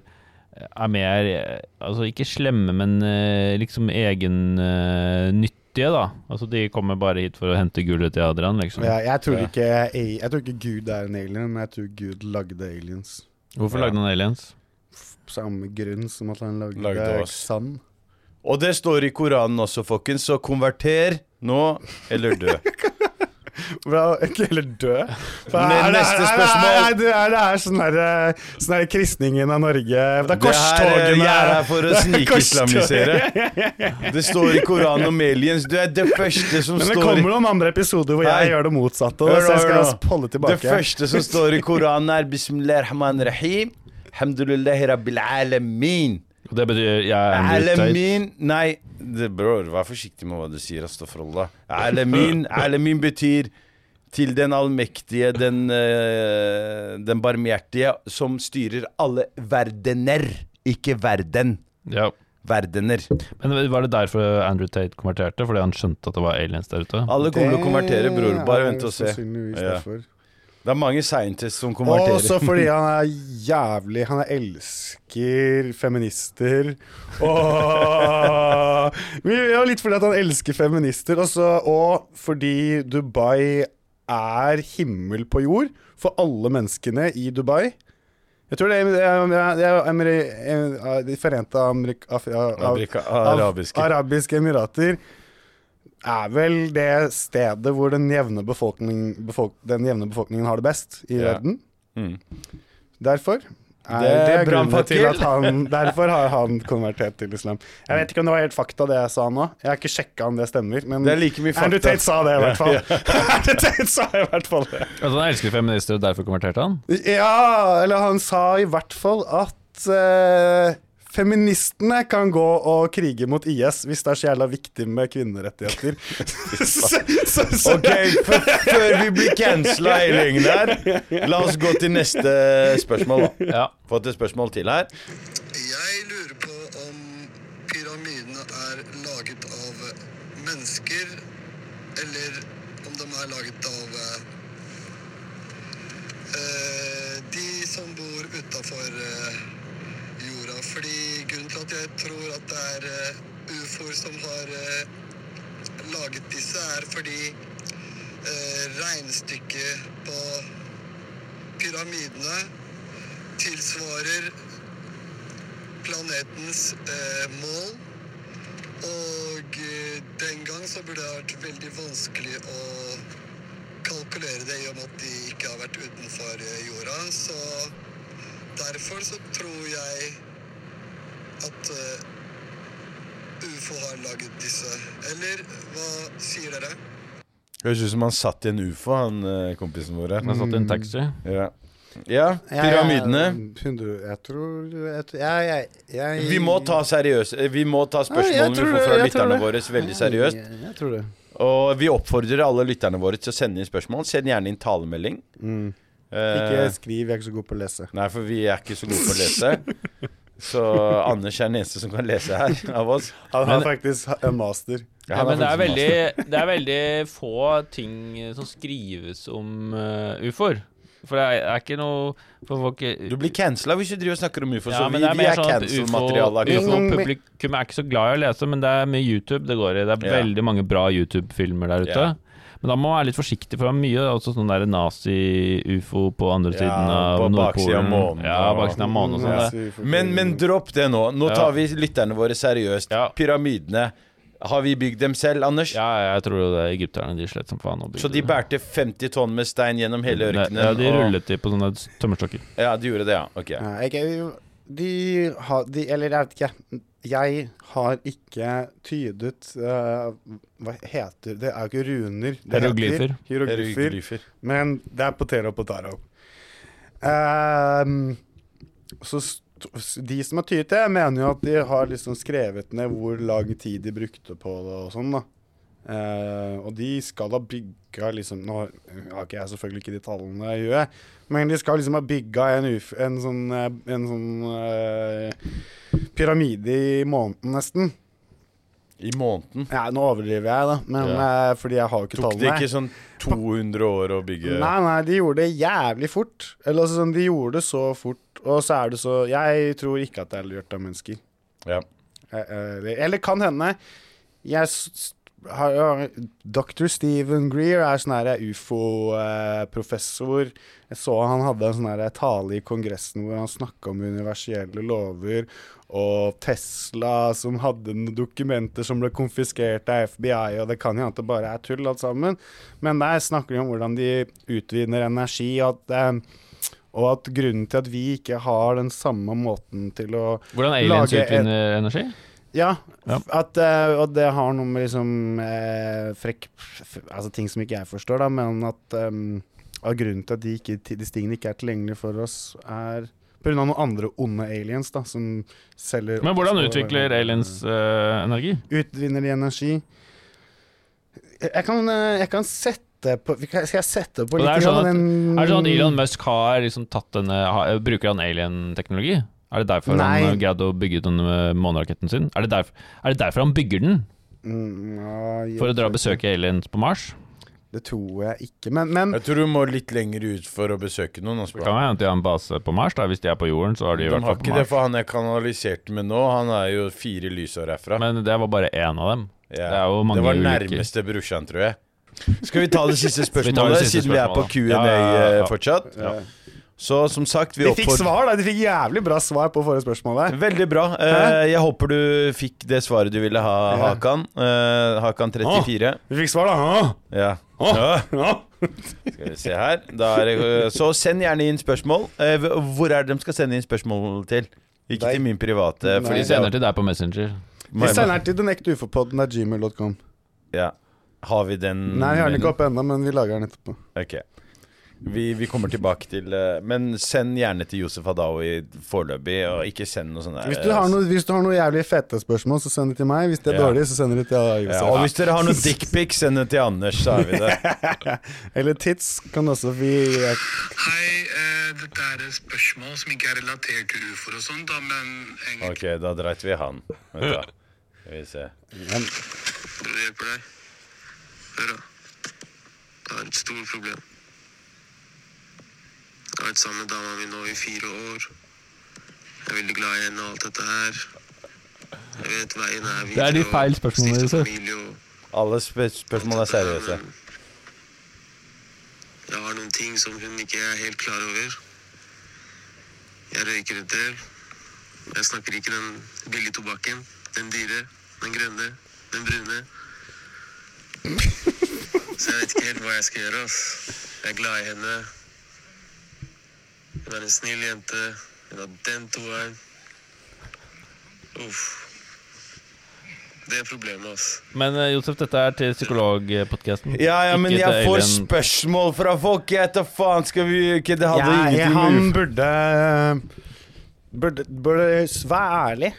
[SPEAKER 3] er mer eh, Altså ikke slemme, men eh, liksom egennyttige, da. Altså de kommer bare hit for å hente gullet til Adrian, liksom.
[SPEAKER 1] Jeg, jeg, tror ikke, jeg, jeg tror ikke Gud er en alien, men jeg tror Gud lagde aliens.
[SPEAKER 3] Hvorfor lagde han aliens?
[SPEAKER 1] Samme grunn som at han lagde,
[SPEAKER 2] Lagde oss.
[SPEAKER 1] sand.
[SPEAKER 2] Og det står i Koranen også, folkens, så konverter nå eller dø.
[SPEAKER 1] Bra, Eller dø. For
[SPEAKER 2] Men
[SPEAKER 1] er det-
[SPEAKER 2] neste
[SPEAKER 1] er det-
[SPEAKER 2] spørsmål.
[SPEAKER 1] er det- er det er sånn her, sånn her kristningen av Norge Det er
[SPEAKER 2] Det her, eh,
[SPEAKER 1] korstogene
[SPEAKER 2] jeg er her for å
[SPEAKER 1] Det er korstog-
[SPEAKER 2] snikislamisere. Det står i Koranen om aliens. Du er det første som
[SPEAKER 1] Men det
[SPEAKER 2] står i
[SPEAKER 1] kommer noen andre episoder hvor
[SPEAKER 2] Hei.
[SPEAKER 1] jeg gjør det motsatte.
[SPEAKER 2] Hør
[SPEAKER 1] Og
[SPEAKER 2] nå,
[SPEAKER 1] så jeg
[SPEAKER 2] hør
[SPEAKER 1] skal
[SPEAKER 2] nå.
[SPEAKER 1] altså holde
[SPEAKER 2] Det
[SPEAKER 1] tilbake.
[SPEAKER 2] første som står i Koranen, er Bismillahirrahmanirrahim. Alhamdulillahi rabbil alamin.
[SPEAKER 3] Og Det betyr jeg er en drittøyt.
[SPEAKER 2] Alamin Nei, det, bror, vær forsiktig med hva du sier, astafrallah. Alamin, alamin betyr til den allmektige, den, eh, den barmhjertige, som styrer alle verdener. Ikke verden.
[SPEAKER 3] Ja.
[SPEAKER 2] Verdener.
[SPEAKER 3] Men var det derfor Andrew Tate konverterte? Fordi han skjønte at det var aliens der ute?
[SPEAKER 2] Alle kommer til å konvertere, bror.
[SPEAKER 1] Det
[SPEAKER 2] Bare
[SPEAKER 1] er
[SPEAKER 2] vent og se.
[SPEAKER 1] sannsynligvis
[SPEAKER 2] Ja.
[SPEAKER 1] derfor.
[SPEAKER 2] Det er mange scientists som konverterer.
[SPEAKER 1] Og så fordi han er jævlig Han elsker feminister. Og Men ja, litt fordi at han elsker feminister, og så- og fordi Dubai er himmel på jord for alle menneskene i Dubai. Jeg tror det er, det er, det er, Emir- De forente Amerik, Af, Af,
[SPEAKER 2] Amerika-
[SPEAKER 1] av-
[SPEAKER 2] arabiske.
[SPEAKER 1] arabiske emirater er vel det stedet hvor den jevne, befolkning, befolk, den jevne befolkningen har det best i
[SPEAKER 2] Ja.
[SPEAKER 1] verden.
[SPEAKER 2] Mm.
[SPEAKER 1] Derfor er det,
[SPEAKER 2] Det er
[SPEAKER 1] grunnen
[SPEAKER 2] brannfakkel.
[SPEAKER 1] til at han Derfor har han konvertert til islam. Jeg vet ikke om det var helt fakta, det jeg sa nå. Jeg har ikke sjekka om det stemmer, men
[SPEAKER 2] Det er like mye
[SPEAKER 1] Andrew
[SPEAKER 2] fakta.
[SPEAKER 1] Tate sa det i hvert fall. Andrew Tate sa i hvert fall det.
[SPEAKER 3] Altså, han elsker feminister, og derfor konverterte han?
[SPEAKER 1] Ja, eller han sa i hvert fall at eh, feministene kan gå og krige mot IS hvis det er så jævla viktig med kvinnerettigheter. så, så, så,
[SPEAKER 2] Ok, f- før vi blir cancela i lengden her, la oss gå til neste spørsmål. da.
[SPEAKER 3] Ja.
[SPEAKER 2] Fått et spørsmål til her.
[SPEAKER 6] Jeg lurer på om pyramidene er laget av mennesker, eller om de er laget av eh, de som bor utafor jorda. Fordi grunnen til at jeg tror at det er eh, ufoer som har eh, laget disse, er fordi eh, regnestykket på pyramidene tilsvarer planetens eh, mål. Og eh, den gang så burde det ha vært veldig vanskelig å kalkulere det i og med at de ikke har vært utenfor eh, jorda. Så derfor så tror jeg at eh, ufo har laget disse. Eller hva sier dere?
[SPEAKER 2] Høres ut som han satt i en ufo, han eh, kompisen vår her.
[SPEAKER 3] Han satt i en taxi.
[SPEAKER 2] Ja. ja, pyramidene.
[SPEAKER 1] Hundre- Jeg tror jeg, tror- jeg, jeg, jeg
[SPEAKER 2] Vi må ta seriøst eh, Vi må ta
[SPEAKER 1] Ja, jeg
[SPEAKER 2] spørsmålene
[SPEAKER 1] tror
[SPEAKER 2] vi
[SPEAKER 1] det,
[SPEAKER 2] får fra
[SPEAKER 1] jeg tror
[SPEAKER 2] lytterne
[SPEAKER 1] det.
[SPEAKER 2] våre, veldig seriøst.
[SPEAKER 1] Jeg, jeg tror det.
[SPEAKER 2] Og vi oppfordrer alle lytterne våre til å sende inn spørsmål. Send gjerne inn talemelding.
[SPEAKER 1] Mm. Ikke
[SPEAKER 2] Eh,
[SPEAKER 1] skriv, jeg er ikke så god på å lese.
[SPEAKER 2] Nei, for vi er ikke så gode på å lese. Så Anders er den eneste som kan lese her av oss.
[SPEAKER 1] Han har faktisk en master.
[SPEAKER 3] Ja, men det er,
[SPEAKER 2] faktisk
[SPEAKER 3] veldig, det er veldig få ting som skrives om eh, ufoer. For det er, er ikke noe for folk
[SPEAKER 2] Du blir cancela hvis du driver og snakker om ufo.
[SPEAKER 3] Ja,
[SPEAKER 2] så
[SPEAKER 3] men
[SPEAKER 2] vi,
[SPEAKER 3] det
[SPEAKER 2] vi
[SPEAKER 3] mer
[SPEAKER 2] er
[SPEAKER 3] sånn at
[SPEAKER 2] cancel-materiale. akkurat nå.
[SPEAKER 3] UFO, publikum er ikke så glad i å lese, men det er mye YouTube det går i. Det er
[SPEAKER 2] Ja.
[SPEAKER 3] veldig mange bra YouTube-filmer der ute.
[SPEAKER 2] Ja.
[SPEAKER 3] Men da må man være litt forsiktig, for det er mye også sånn der nazi-ufo på andre
[SPEAKER 2] Ja,
[SPEAKER 3] siden av
[SPEAKER 2] på baksiden av
[SPEAKER 3] Nordpolen.
[SPEAKER 2] månen.
[SPEAKER 3] ja, baksiden av månen og
[SPEAKER 1] Mm,
[SPEAKER 3] sånn. det.
[SPEAKER 2] Men, men dropp det nå. Nå
[SPEAKER 3] Ja.
[SPEAKER 2] tar vi lytterne våre seriøst.
[SPEAKER 3] Ja.
[SPEAKER 2] Pyramidene. Har vi bygd dem selv, Anders?
[SPEAKER 3] Ja, jeg tror jo det er egypterne. De slet som faen. og bygde
[SPEAKER 2] Så de
[SPEAKER 3] det.
[SPEAKER 2] bærte 50 tonn med stein gjennom hele ørkenen?
[SPEAKER 3] Ja, de
[SPEAKER 2] og-
[SPEAKER 3] rullet de på sånne tømmerstokker.
[SPEAKER 2] Ja, de gjorde det, ja. Ok.
[SPEAKER 1] Nei, jeg, de har de, Eller jeg vet ikke. Jeg har ikke tydet eh, Hva heter Det er jo ikke runer. Det
[SPEAKER 3] Hieroglyfer.
[SPEAKER 1] heter Hieroglyfer.
[SPEAKER 2] Hieroglyfer.
[SPEAKER 1] Men det er på Tero på Taro. Ehm, så st s- de som har tydet det, mener jo at de har liksom skrevet ned hvor lang tid de brukte på det og sånn, da. Eh, og de skal ha bygga liksom Nå har ikke jeg selvfølgelig ikke de tallene jeg gjør, men de skal liksom ha bygga en, uf- en sånn, eh, en sånn eh, pyramide i måneden, nesten.
[SPEAKER 2] I måneden.
[SPEAKER 1] Ja, nå overdriver jeg, da, men eh, fordi jeg har jo ikke
[SPEAKER 2] Tok det
[SPEAKER 1] tallene.
[SPEAKER 2] ikke sånn 200 år å bygge
[SPEAKER 1] Nei, nei, de gjorde det jævlig fort. Eller altså, sånn, de gjorde det så fort, og så er det så Jeg tror ikke at det er gjort av mennesker.
[SPEAKER 2] Ja.
[SPEAKER 1] Eh, eh, Eller kan hende. Jeg s- s- har ja, Dr. Stephen Greer er sånn her ufo-professor. eh, Jeg så han hadde en sånn her tale i Kongressen hvor han snakka om universelle lover og Tesla som hadde noen dokumenter som ble konfiskert av FBI, og det kan jo hende at det bare er tull alt sammen. Men der snakker de om hvordan de utvinner energi, og at, eh, og at grunnen til at vi ikke har den samme måten til å
[SPEAKER 3] Hvordan aliens
[SPEAKER 1] Lage et-
[SPEAKER 3] utvinner energi?
[SPEAKER 1] ja,
[SPEAKER 3] Ja.
[SPEAKER 1] At, eh, og det har noe med liksom eh, frekk f Altså ting som ikke jeg forstår, da, men at um, av grunnen til at de ikke, ti- disse tingene ikke er tilgjengelige for oss, er pga. noen andre onde aliens da, som selger
[SPEAKER 3] Men
[SPEAKER 1] opp
[SPEAKER 3] hvordan
[SPEAKER 1] så-
[SPEAKER 3] utvikler aliens eh, energi?
[SPEAKER 1] Utvinner de energi? Jeg jeg kan, eh, jeg kan sette på vi kan- Skal jeg sette på
[SPEAKER 3] Og
[SPEAKER 1] litt
[SPEAKER 3] det er sånn at-
[SPEAKER 1] grann en-
[SPEAKER 3] Er det sånn at Elon Musk har liksom tatt denne har, Bruker han alien-teknologi? Er det derfor
[SPEAKER 1] Nei.
[SPEAKER 3] han greide å bygge den eh, måneraketten sin? Er det, derf er det derfor han bygger den?
[SPEAKER 1] Mm, ja, jeg
[SPEAKER 3] For å dra
[SPEAKER 1] tror
[SPEAKER 3] og
[SPEAKER 1] ikke-
[SPEAKER 3] besøke aliens på Mars?
[SPEAKER 1] Det tror jeg ikke, men, men
[SPEAKER 2] Jeg tror du må litt lenger ut for å besøke noen. Også,
[SPEAKER 3] Det kan hende at de har en base på Mars. Da. Hvis de er på jorden, så har de
[SPEAKER 2] De
[SPEAKER 3] i hvert
[SPEAKER 2] har
[SPEAKER 3] fall på
[SPEAKER 2] ikke det,
[SPEAKER 3] Mars.
[SPEAKER 2] for han jeg kanaliserte med nå, han er jo fire lysår herfra.
[SPEAKER 3] Men det var bare én av dem.
[SPEAKER 2] Ja.
[SPEAKER 3] det er jo mange
[SPEAKER 2] det var
[SPEAKER 3] ulykker.
[SPEAKER 2] nærmeste brorsan, tror jeg. Skal vi ta det siste
[SPEAKER 3] vi ta det
[SPEAKER 2] spørsmålet,
[SPEAKER 3] siste
[SPEAKER 2] siden vi er på
[SPEAKER 3] spørsmålet?
[SPEAKER 2] Q&A
[SPEAKER 3] Ja, ja, ja.
[SPEAKER 2] eh, fortsatt? Så som sagt, vi
[SPEAKER 1] De fikk
[SPEAKER 2] oppfordrer
[SPEAKER 1] svar, da! De fikk jævlig bra svar på forrige spørsmål der.
[SPEAKER 2] Veldig bra. Eh, jeg håper du fikk det svaret du ville ha,
[SPEAKER 1] Ja.
[SPEAKER 2] Hakan. Eh, Hakan 34.
[SPEAKER 1] Vi fikk svar, da.
[SPEAKER 2] Ja. Ja. Skal vi se her. Da er det, eh, så send gjerne inn spørsmål. Eh, Hvor er det de skal sende inn spørsmål til? Ikke
[SPEAKER 1] Deg.
[SPEAKER 2] til min private.
[SPEAKER 1] Nei.
[SPEAKER 3] De sender til deg på Messenger.
[SPEAKER 1] Vi sender den til den ekte ufo-podden er gmail.com.
[SPEAKER 2] Ja. Har vi den
[SPEAKER 1] Nei, vi har den ikke opp ennå, men vi lager den etterpå.
[SPEAKER 2] Ok. Vi, vi kommer tilbake til eh, Men send gjerne til Josef Hadaoui foreløpig, og ikke send noe sånn der,
[SPEAKER 1] Hvis du har
[SPEAKER 2] eh,
[SPEAKER 1] noe, hvis du har noe jævlig fete spørsmål, så send det til meg. Hvis det er
[SPEAKER 2] Ja.
[SPEAKER 1] dårlig, så sender det til
[SPEAKER 2] eh, ja, Og
[SPEAKER 1] Josef.
[SPEAKER 2] hvis dere har noe dickpic, send det til Anders, så er vi det.
[SPEAKER 1] Eller tits kan også vi
[SPEAKER 6] Hei, eh, dette er et spørsmål som ikke er relatert til ufoer og sånn, da, men egentlig
[SPEAKER 2] Ok, da dreit vi i han. Vent da. Skal vi se.
[SPEAKER 6] Tror det hjelper deg. Hør, da. Det er et stort problem. Jeg har vært sammen med dama mi nå i fire år. Jeg er veldig glad i henne og alt dette her. Jeg vet veien er videre.
[SPEAKER 3] er de feil
[SPEAKER 6] og
[SPEAKER 3] spørsmålene,
[SPEAKER 6] stifte
[SPEAKER 3] Josef.
[SPEAKER 6] familie og-
[SPEAKER 2] Alle sp spørsmål er seriøse.
[SPEAKER 6] Jeg har noen ting som hun ikke er helt klar over. Jeg røyker en del. Jeg snakker ikke den billige tobakken. Den dyre, den grønne, den brune. Så jeg vet ikke helt hva jeg skal gjøre. ass. Jeg er glad i henne. Hun er en snill jente. Hun har den toeren. Uff. Det er problemet, ass.
[SPEAKER 3] Men eh, Josef, dette er til psykologpodkasten.
[SPEAKER 2] Ja, ja, men
[SPEAKER 3] Ikke til
[SPEAKER 2] jeg får
[SPEAKER 3] alien-
[SPEAKER 2] spørsmål fra folk. Jeg vet da faen, skal vi ikke Det hadde ingenting med
[SPEAKER 1] Han
[SPEAKER 2] ufo-
[SPEAKER 1] burde Burde, burde s- Vær ærlig.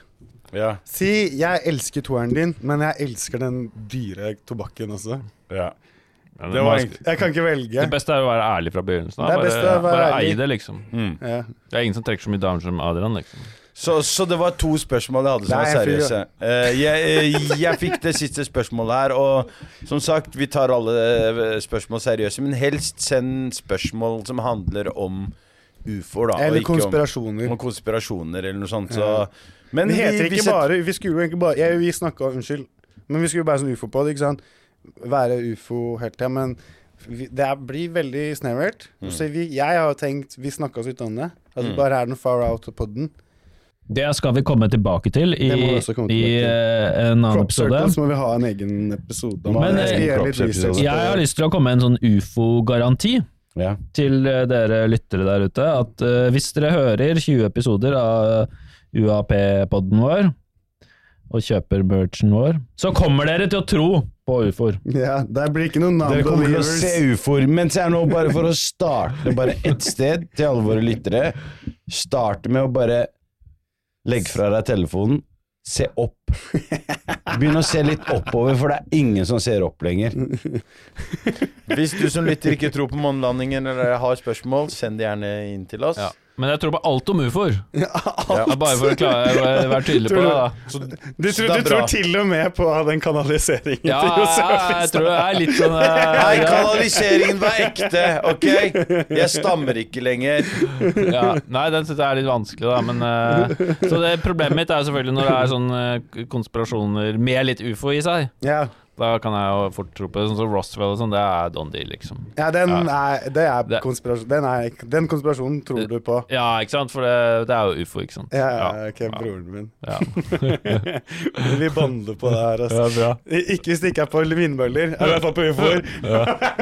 [SPEAKER 2] Ja,
[SPEAKER 1] Si 'jeg elsker toeren din, men jeg elsker den dyre tobakken også'.
[SPEAKER 2] ja.
[SPEAKER 3] Ja, det
[SPEAKER 2] Det var
[SPEAKER 3] må-
[SPEAKER 2] egentlig
[SPEAKER 1] Jeg kan ikke velge.
[SPEAKER 3] det beste er å være ærlig fra begynnelsen av.
[SPEAKER 1] Det er best
[SPEAKER 3] Bare,
[SPEAKER 1] å være
[SPEAKER 3] bare
[SPEAKER 1] ærlig.
[SPEAKER 3] eie det, liksom.
[SPEAKER 2] Mm.
[SPEAKER 1] Ja.
[SPEAKER 3] Det er ingen som trekker så mye damer som Adrian. Liksom.
[SPEAKER 2] Så, så det var to spørsmål jeg hadde som
[SPEAKER 1] Nei,
[SPEAKER 2] var
[SPEAKER 1] jeg fikk-
[SPEAKER 2] seriøse. Eh, jeg, eh, jeg fikk det siste spørsmålet her, og som sagt, vi tar alle eh, spørsmål seriøse, men helst send spørsmål som handler om ufoer, da. og
[SPEAKER 1] Eller
[SPEAKER 2] ikke om-
[SPEAKER 1] konspirasjoner.
[SPEAKER 2] Om, konspirasjoner eller noe sånt. Så. Men
[SPEAKER 1] Det heter
[SPEAKER 2] vi- vi
[SPEAKER 1] ikke
[SPEAKER 2] setter-
[SPEAKER 1] bare Vi skulle jo egentlig bare jeg, Vi snakka Unnskyld. Men vi skulle jo bare sånn ufo på det, ikke sant? Være ufo helt til, men vi, det er, blir veldig snevert. Og Så vi, jeg har jo tenkt Vi snakka oss ut om det. At vi bare er noe far out på den.
[SPEAKER 3] Det skal vi komme tilbake til i, eh,
[SPEAKER 1] Det må vi også komme tilbake til.
[SPEAKER 3] en annen
[SPEAKER 1] Crop circles må vi ha en egen episode om.
[SPEAKER 3] Men,
[SPEAKER 1] det. Jeg skal
[SPEAKER 3] eh,
[SPEAKER 1] gjøre
[SPEAKER 4] crop
[SPEAKER 1] litt
[SPEAKER 4] circles
[SPEAKER 1] research
[SPEAKER 4] også.
[SPEAKER 1] på
[SPEAKER 3] Jeg har
[SPEAKER 1] det.
[SPEAKER 3] lyst til å komme med en sånn ufo-garanti
[SPEAKER 4] Ja.
[SPEAKER 3] til eh, dere lyttere der ute. At eh, hvis dere hører 20 episoder av eh, UAP-podden vår, og kjøper merchen vår, så kommer dere til å tro på ufoer.
[SPEAKER 1] Ja, der blir ikke noen
[SPEAKER 4] Dere kommer til å
[SPEAKER 1] non-believers.
[SPEAKER 4] se ufoer, mens jeg nå bare for å starte bare ett sted til alle våre lyttere. Starte med å bare legge fra deg telefonen. Se opp. Begynn å se litt oppover, for det er ingen som ser opp lenger.
[SPEAKER 2] Hvis du som lytter ikke tror på månelandingen eller har spørsmål, send det gjerne inn til oss.
[SPEAKER 3] Men jeg tror på alt om ufoer.
[SPEAKER 1] Ja,
[SPEAKER 3] Ja, Bare for å klare å være- være tydelig på det. da
[SPEAKER 7] Så,
[SPEAKER 1] Du,
[SPEAKER 7] så det er
[SPEAKER 1] tror, du tror
[SPEAKER 7] bra.
[SPEAKER 1] til og med på den kanaliseringen
[SPEAKER 3] Ja,
[SPEAKER 1] til Josef
[SPEAKER 3] jeg tror det er litt sånn eh,
[SPEAKER 7] Nei,
[SPEAKER 3] ja.
[SPEAKER 7] kanaliseringen var ekte, OK? Jeg stammer ikke lenger.
[SPEAKER 3] ja. Nei, den synes jeg er litt vanskelig, da. Men, eh, så det, problemet mitt er jo selvfølgelig når det er sånne eh, konspirasjoner med litt ufo i seg.
[SPEAKER 1] Ja,
[SPEAKER 3] Da kan jeg jo fort tro på det. Sånn som Roswell og sånn, det er Don Deal, liksom.
[SPEAKER 1] ja, den, Er, det er
[SPEAKER 3] Det-
[SPEAKER 1] konspirasjon. Den, er, ikke- den konspirasjonen tror du på.
[SPEAKER 3] Ja, ikke sant? For det, det er jo ufo, ikke sant.
[SPEAKER 1] Ja, ja, ok, broren min.
[SPEAKER 3] Ja.
[SPEAKER 1] Vi bander på det her, altså.
[SPEAKER 3] bra.
[SPEAKER 1] Ikke hvis det ikke er på vindmøller. Eller i hvert fall på ufoer.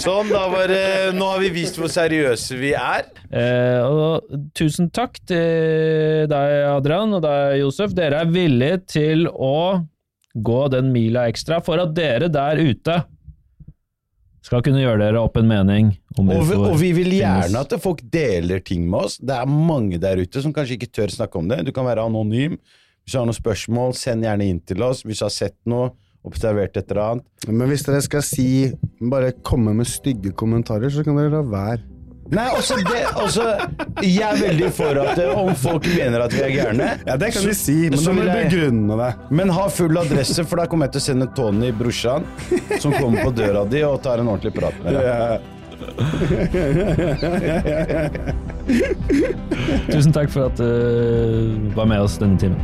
[SPEAKER 7] Sånn, da var det Nå har vi vist hvor seriøse vi er.
[SPEAKER 8] Eh, og tusen takk til deg, Adrian, og deg, Josef. Dere er villige til å gå den mila ekstra for at dere der ute skal kunne gjøre dere opp en mening om
[SPEAKER 2] Og vi,
[SPEAKER 8] ufoer.
[SPEAKER 2] og vi vil
[SPEAKER 8] finnes.
[SPEAKER 2] gjerne at folk deler ting med oss. Det er mange der ute som kanskje ikke tør snakke om det. Du kan være anonym. Hvis du har noen spørsmål, send gjerne inn til oss. Hvis du har sett noe, observert et eller annet.
[SPEAKER 1] Men hvis dere skal si Bare komme med stygge kommentarer, så kan dere la være.
[SPEAKER 2] Nei, også det, også, jeg er veldig for at eh, om folk mener at vi er gærne
[SPEAKER 1] Ja, det kan vi si, men
[SPEAKER 2] så
[SPEAKER 1] da må du
[SPEAKER 2] vil jeg-
[SPEAKER 1] begrunne det.
[SPEAKER 2] Men ha full adresse, for da kommer jeg til å sende Tony, brorsan, som kommer på døra di og tar en ordentlig prat med deg.
[SPEAKER 8] eh, Tusen takk for at du var med oss denne timen.